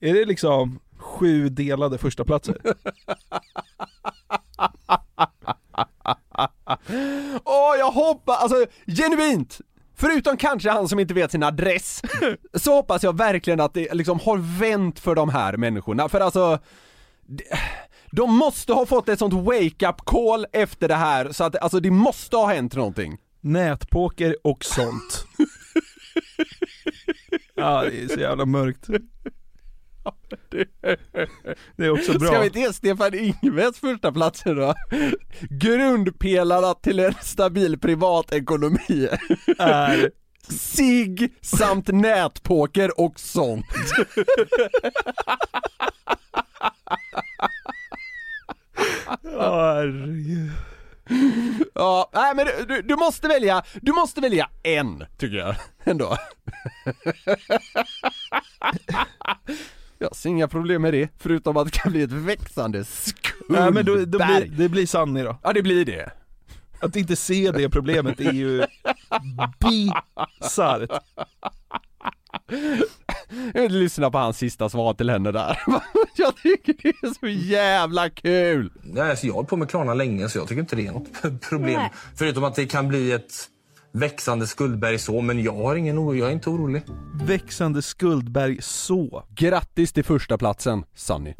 Speaker 5: Är det liksom sju delade första platser?
Speaker 4: Åh, jag hoppas, alltså genuint! Förutom kanske han som inte vet sin adress, så hoppas jag verkligen att det liksom har vänt för de här människorna, för alltså det- de måste ha fått ett sånt wake-up call efter det här, så att alltså det måste ha hänt någonting.
Speaker 5: Nätpoker och sånt. Ja, det är så jävla mörkt. Det är också bra.
Speaker 4: Ska vi inte ge Stefan Ingves första platsen då? Grundpelarna till en stabil privatekonomi
Speaker 5: Är
Speaker 4: SIG samt nätpoker och sånt.
Speaker 5: Ja, herregud.
Speaker 4: Ja, nej men du, du, du måste välja, du måste välja en, tycker jag, ändå. Jag ser inga problem med det, förutom att det kan bli ett växande skuldberg.
Speaker 5: Nej men då, då blir, det blir Sanni då.
Speaker 4: Ja det blir det.
Speaker 5: Att inte se det problemet är ju bisarrt.
Speaker 4: Jag vill lyssna på hans sista svar till henne där. Jag tycker det är så jävla kul!
Speaker 21: Nej, alltså jag har hållit på med Klarna länge så jag tycker inte det är något problem.
Speaker 22: Nej.
Speaker 21: Förutom att det kan bli ett växande skuldberg så, men jag har ingen oro, jag är inte orolig.
Speaker 5: Växande skuldberg så.
Speaker 4: Grattis till första platsen, Sunny.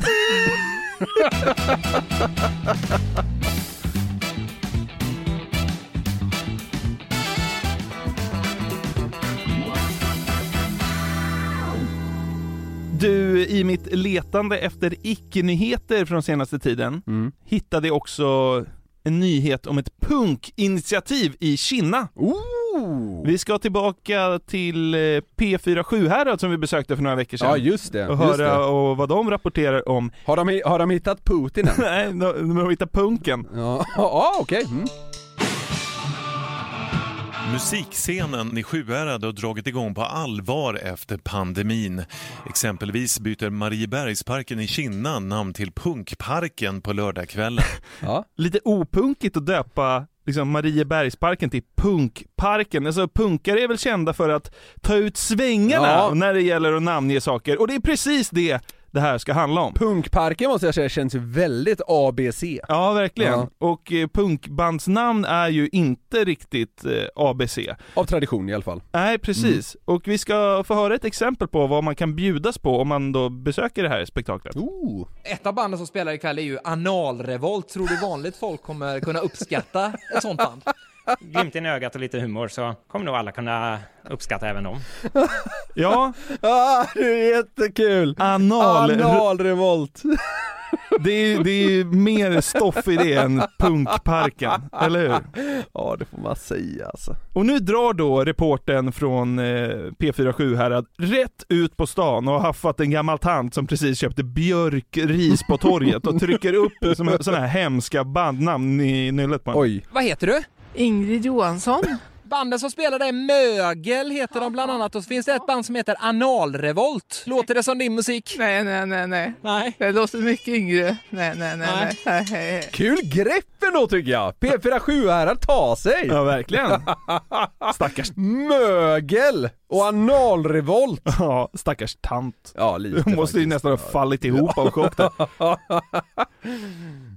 Speaker 5: Du, i mitt letande efter icke-nyheter från senaste tiden
Speaker 4: Mm.
Speaker 5: hittade jag också en nyhet om ett punkinitiativ i Kina. Vi ska tillbaka till eh, P4 Sjuhärad som vi besökte för några veckor sedan.
Speaker 4: Ja, just det,
Speaker 5: Och
Speaker 4: just
Speaker 5: höra
Speaker 4: det.
Speaker 5: Och vad de rapporterar om.
Speaker 4: Har de, har de hittat Putin än?
Speaker 5: Nej, de, de har hittat punken.
Speaker 4: Ja, ja okej. Mm.
Speaker 1: Musikscenen i Sjuhärad har dragit igång på allvar efter pandemin. Exempelvis byter Mariebergsparken i Kinna namn till Punkparken på lördagskvällen.
Speaker 5: Lite opunkigt att döpa liksom Mariebergsparken till Punkparken. Alltså punkare är väl kända för att ta ut svängarna
Speaker 4: Ja.
Speaker 5: när det gäller att namnge saker. Och det är precis det det här ska handla om.
Speaker 4: Punkparken måste jag säga känns väldigt ABC.
Speaker 5: Ja, verkligen. Och eh, punkbandsnamn är ju inte riktigt eh, ABC.
Speaker 4: Av tradition i alla fall. Mm.
Speaker 5: Nej, precis. Och vi ska få höra ett exempel på vad man kan bjudas på om man då besöker det här spektaklet.
Speaker 3: Ett av banden som spelar ikväll är ju Analrevolt. Tror du vanligt folk kommer kunna uppskatta ett sånt band?
Speaker 23: Glimten i ögat och lite humor så kommer nog alla kunna uppskatta även dem.
Speaker 5: Ja.
Speaker 4: ah, det är jättekul!
Speaker 5: Anal...
Speaker 4: Analrevolt.
Speaker 5: Det är, ju- det är ju mer stoff i det än punkparken, eller hur?
Speaker 4: Ja, det får man säga alltså.
Speaker 5: Och nu drar då reporten från eh, P4 Sjuhärad rätt ut på stan och har haffat en gammal tant som precis köpte björkris på torget och trycker upp som- sådana här hemska bandnamn i nyllet på
Speaker 4: Oj.
Speaker 3: Vad heter du?
Speaker 17: Ingrid Johansson.
Speaker 3: Banden som spelar är Mögel heter de bland annat och så finns det ett band som heter Analrevolt. Låter det som din musik?
Speaker 17: Nej, nej, nej, nej. nej. Det låter mycket yngre. Nej, nej, nej. nej. nej. nej, nej.
Speaker 4: Kul grepp ändå tycker jag! P4 Sjuhärad tar sig!
Speaker 5: Ja, verkligen. Stackars...
Speaker 4: Mögel och analrevolt!
Speaker 5: Ja, stackars tant.
Speaker 4: Ja, lite
Speaker 5: Hon måste ju nästan ha fallit ihop av chock där.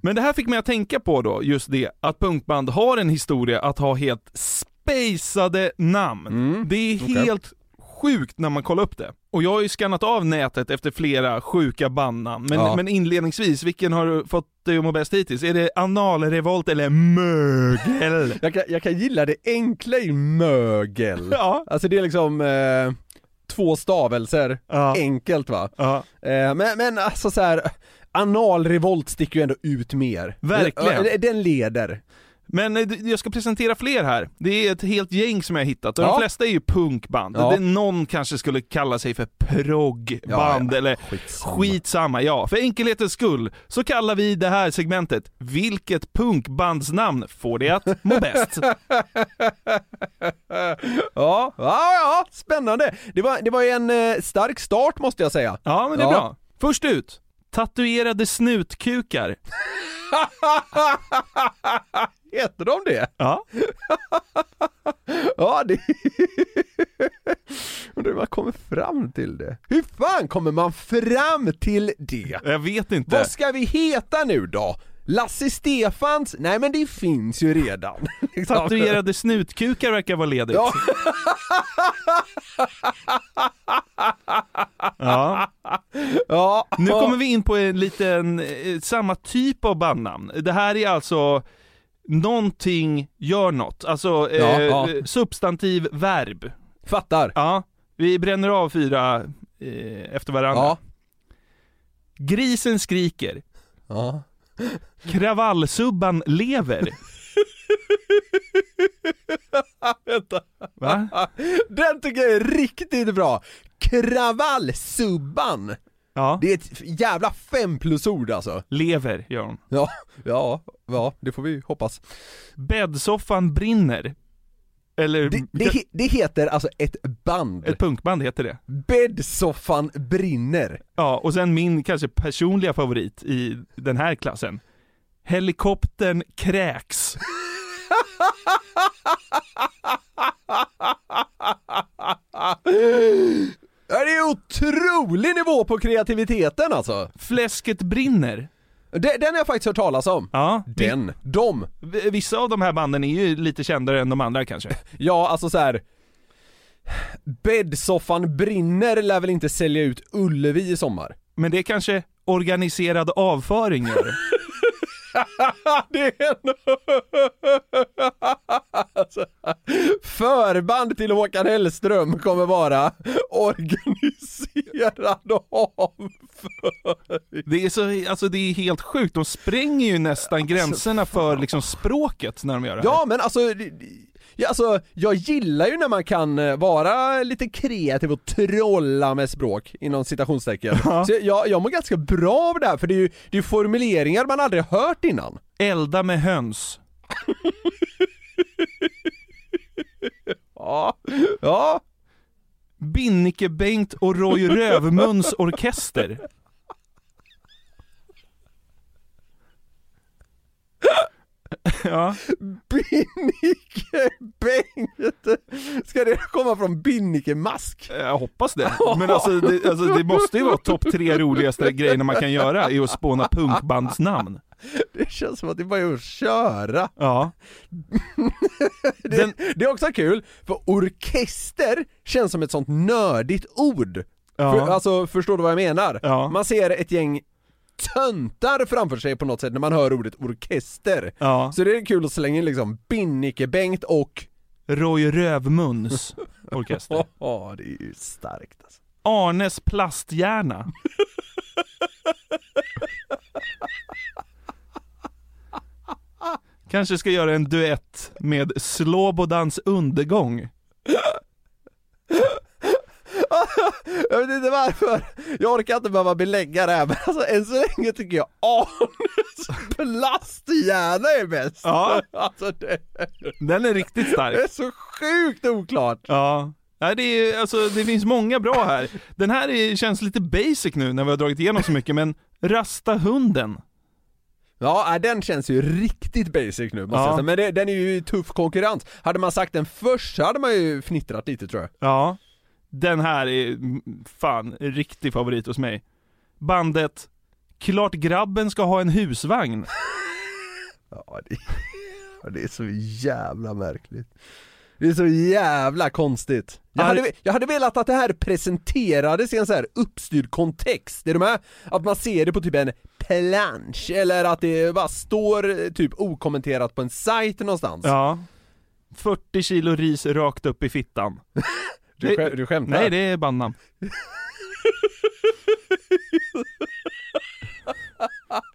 Speaker 5: Men det här fick mig att tänka på då, just det, att punkband har en historia att ha helt spejsade namn. Det är
Speaker 4: Mm, okej.
Speaker 5: helt sjukt när man kollar upp det. Och jag har ju skannat av nätet efter flera sjuka bandnamn, men,
Speaker 4: Ja.
Speaker 5: men inledningsvis, vilken har du fått dig att må bäst hittills? Är det analrevolt eller mögel?
Speaker 4: jag, kan, jag kan gilla det enkla i mögel.
Speaker 5: Ja.
Speaker 4: Alltså det är liksom eh, två stavelser, enkelt va? Eh, men, men alltså så här, analrevolt sticker ju ändå ut mer.
Speaker 5: Verkligen.
Speaker 4: Eh, Den leder.
Speaker 5: Men eh, d- jag ska presentera fler här. Det är ett helt gäng som jag har hittat och
Speaker 4: Ja.
Speaker 5: de flesta är ju punkband.
Speaker 4: Ja.
Speaker 5: Det är någon kanske skulle kalla sig för proggband
Speaker 4: Ja, ja.
Speaker 5: eller
Speaker 4: skitsamma.
Speaker 5: Ja, för enkelhetens skull så kallar vi det här segmentet Vilket punkbandsnamn får det att må bäst?
Speaker 4: Eh, Ja, ja, ja, spännande. Det var, det var ju en eh, stark start måste jag säga.
Speaker 5: Ja, men det är bra. Först ut, tatuerade snutkukar.
Speaker 4: Heter de det?
Speaker 5: Ja.
Speaker 4: ja, det... Undrar hur man kommer fram till det. Hur fan kommer man fram till det?
Speaker 5: Jag vet inte.
Speaker 4: Vad ska vi heta nu då? Lasse Stefans? Nej men det finns ju redan. Liksom.
Speaker 5: Tatuerade snutkukar verkar vara ledigt.
Speaker 4: Ja.
Speaker 5: Ja.
Speaker 4: ja.
Speaker 5: Nu kommer vi in på en liten, eh, samma typ av bandnamn. Det här är alltså någonting gör något, alltså eh,
Speaker 4: Ja, ja.
Speaker 5: substantiv verb.
Speaker 4: Fattar.
Speaker 5: Ja, vi bränner av fyra eh, efter varandra.
Speaker 4: Ja.
Speaker 5: Grisen skriker.
Speaker 4: Ja.
Speaker 5: Kravallsubban lever.
Speaker 4: Vänta.
Speaker 5: Va?
Speaker 4: Den tycker jag är riktigt bra. Kravallsubban.
Speaker 5: Ja.
Speaker 4: Det är ett jävla fem plus ord alltså.
Speaker 5: Lever gör hon.
Speaker 4: Ja, ja, ja, det får vi hoppas.
Speaker 5: Bäddsoffan brinner. Eller...
Speaker 4: Det, det, he- det heter alltså ett band.
Speaker 5: Ett punkband heter det.
Speaker 4: Bäddsoffan brinner.
Speaker 5: Ja, och sen min kanske personliga favorit i den här klassen. Helikoptern kräks.
Speaker 4: Ja, Det är otrolig nivå på kreativiteten alltså.
Speaker 5: Fläsket brinner.
Speaker 4: Den, den har jag faktiskt hört talas om.
Speaker 5: Ja.
Speaker 4: Den. De.
Speaker 5: V- Vissa av de här banden är ju lite kändare än de andra kanske.
Speaker 4: Ja, alltså så här. Bäddsoffan brinner lär väl inte sälja ut Ullevi i sommar?
Speaker 5: Men det kanske organiserad avföring gör.
Speaker 4: det är en... alltså, förband till Håkan Hellström kommer vara organiserad avföring.
Speaker 5: Det är, så, alltså, det är helt sjukt,
Speaker 4: Alltså,
Speaker 5: de spränger ju nästan gränserna för liksom, språket när de gör det här.
Speaker 4: Ja men alltså, det- det- ja, alltså, jag gillar ju när man kan eh, vara lite kreativ och trolla med språk, inom citationstecken. Så jag, jag mår ganska bra av det här, för det är ju det är formuleringar man aldrig hört innan.
Speaker 5: Elda med höns.
Speaker 4: ja. ja.
Speaker 5: Binnike-Bengt och Roy Rövmuns orkester. Ja.
Speaker 4: Binnike Bengt! Ska det komma från Binnike Mask?
Speaker 5: Jag hoppas det. Men alltså det, alltså, det måste ju vara topp tre roligaste grejerna man kan göra, är att spåna punkbandsnamn.
Speaker 4: Det känns som att det bara är att köra.
Speaker 5: Ja.
Speaker 4: det, det är också kul, för orkester känns som ett sånt nördigt ord.
Speaker 5: Ja.
Speaker 4: För, alltså, förstår du vad jag menar? Man ser ett gäng töntar framför sig på något sätt när man hör ordet orkester.
Speaker 5: Ja.
Speaker 4: Så det är kul att slänga in liksom Binnike-Bengt och
Speaker 5: Roy Rövmuns orkester.
Speaker 4: Ja, det är ju starkt alltså.
Speaker 5: Arnes plasthjärna. Kanske ska göra en duett med Slobodans undergång.
Speaker 4: Jag vet inte varför, jag orkar inte behöva belägga det här men alltså än så länge tycker jag anus plasthjärna är bäst!
Speaker 5: Ja.
Speaker 4: Alltså det,
Speaker 5: Den är riktigt stark.
Speaker 4: det är så sjukt oklart!
Speaker 5: Ja. Nej, det, är, alltså, det finns många bra här. Den här är, känns lite basic nu när vi har dragit igenom så mycket, men Rasta hunden.
Speaker 4: Ja, äh, den känns ju riktigt basic nu måste
Speaker 5: Ja.
Speaker 4: jag säga, men det, den är ju i tuff konkurrens. Hade man sagt den först så hade man ju fnittrat lite tror jag.
Speaker 5: Ja. Den här är mm, fan en riktig favorit hos mig. Bandet Klart grabben ska ha en husvagn.
Speaker 4: Ja, det, ja, det är så jävla märkligt. Det är så jävla konstigt. Jag
Speaker 5: Ar-
Speaker 4: hade, jag hade velat att det här presenterades i en så här uppstyrd kontext, är du med? Att man ser det på typ en plansch, eller att det bara står eh, typ okommenterat på en sajt någonstans.
Speaker 5: Ja. 40 kilo ris rakt upp i fittan.
Speaker 4: Du
Speaker 5: Det-
Speaker 4: skä- du skämtar?
Speaker 5: Nej, det är bandnamn.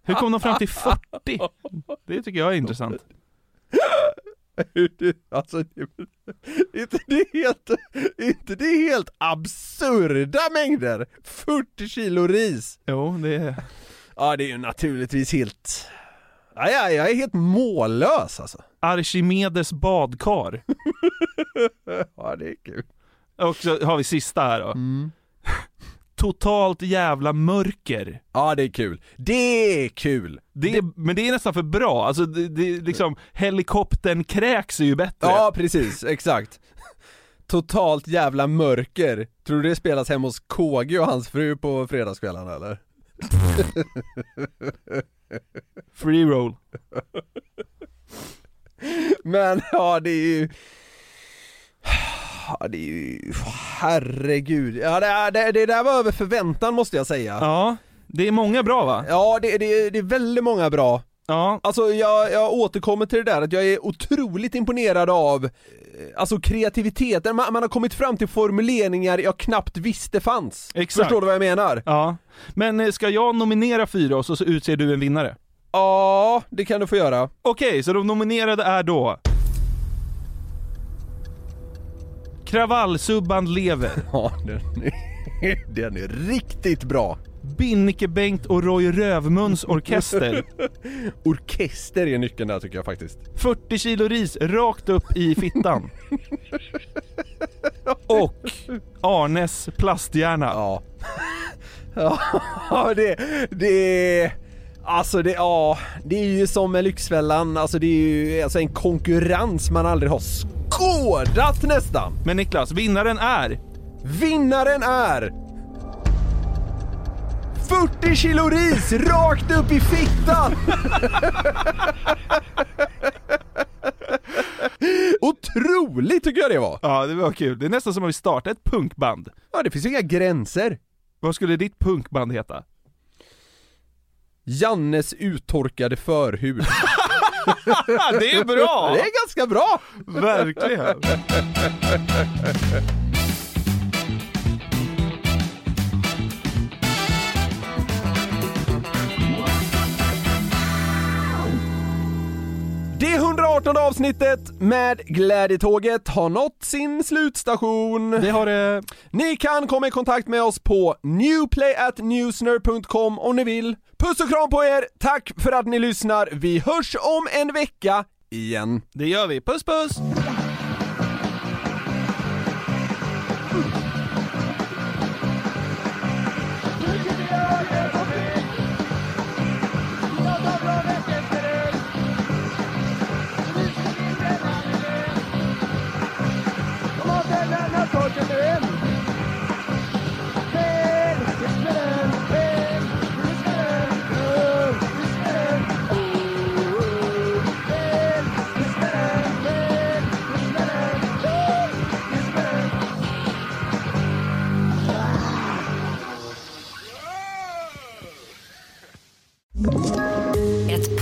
Speaker 5: Hur kom de fram till 40? Det tycker jag är intressant.
Speaker 4: alltså, det, är inte det helt, är inte det helt absurda mängder? 40 kilo ris!
Speaker 5: Jo, det är...
Speaker 4: Ja, det är ju naturligtvis helt... Ja, ja, jag är helt mållös alltså.
Speaker 5: Archimedes badkar.
Speaker 4: Ja, det är kul. Mm.
Speaker 5: Och så har vi sista här då. Totalt jävla mörker.
Speaker 4: Ja, det är kul. Det är kul!
Speaker 5: Det är, men det är nästan för bra, alltså det, det är liksom, helikoptern kräks är ju bättre.
Speaker 4: Ja, precis, exakt. Totalt jävla mörker. Tror du det spelas hemma hos KG och hans fru på fredagskvällarna eller?
Speaker 5: Free roll.
Speaker 4: Men ja, det är ju... Ja, det är ju... Herregud. Ja, det, det, det där var över förväntan måste jag säga.
Speaker 5: Ja, det är många bra va?
Speaker 4: Ja, det, det, det är väldigt många bra.
Speaker 5: Ja.
Speaker 4: Alltså jag, jag återkommer till det där att jag är otroligt imponerad av eh, Alltså kreativiteten, man, man har kommit fram till formuleringar jag knappt visste fanns.
Speaker 5: Exakt.
Speaker 4: Förstår du vad jag menar?
Speaker 5: Ja. Men eh, ska jag nominera fyra och så, så utser du en vinnare?
Speaker 4: Ja, det kan du få göra.
Speaker 5: Okej, så de nominerade är då... Kravallsubban lever.
Speaker 4: Ja, den är, den är riktigt bra.
Speaker 5: Binnike-Bengt och Roy Rövmuns orkester.
Speaker 4: Orkester är nyckeln där tycker jag faktiskt.
Speaker 5: 40 kilo ris rakt upp i fittan. Och Arnes plasthjärna.
Speaker 4: Ja. Ja, det, det, alltså det, ja, det är ju som med Lyxfällan, alltså det är ju alltså en konkurrens man aldrig har skådat nästan.
Speaker 5: Men Niklas, vinnaren är...
Speaker 4: Vinnaren är 40 kilo ris rakt upp i fittan! Otroligt tycker jag det var!
Speaker 5: Ja, det var kul. Det är nästan som om vi startade ett punkband.
Speaker 4: Ja, det finns ju inga gränser.
Speaker 5: Vad skulle ditt punkband heta?
Speaker 4: Jannes uttorkade förhud.
Speaker 5: det är bra!
Speaker 4: Det är ganska bra!
Speaker 5: Verkligen.
Speaker 4: Det 118 avsnittet med Glädjetåget har nått sin slutstation. Det har det. Ni kan komma i kontakt med oss på newplayatnewsner.com om ni vill. Puss och kram på er, tack för att ni lyssnar. Vi hörs om en vecka igen. Det gör vi. Puss puss!
Speaker 24: Ett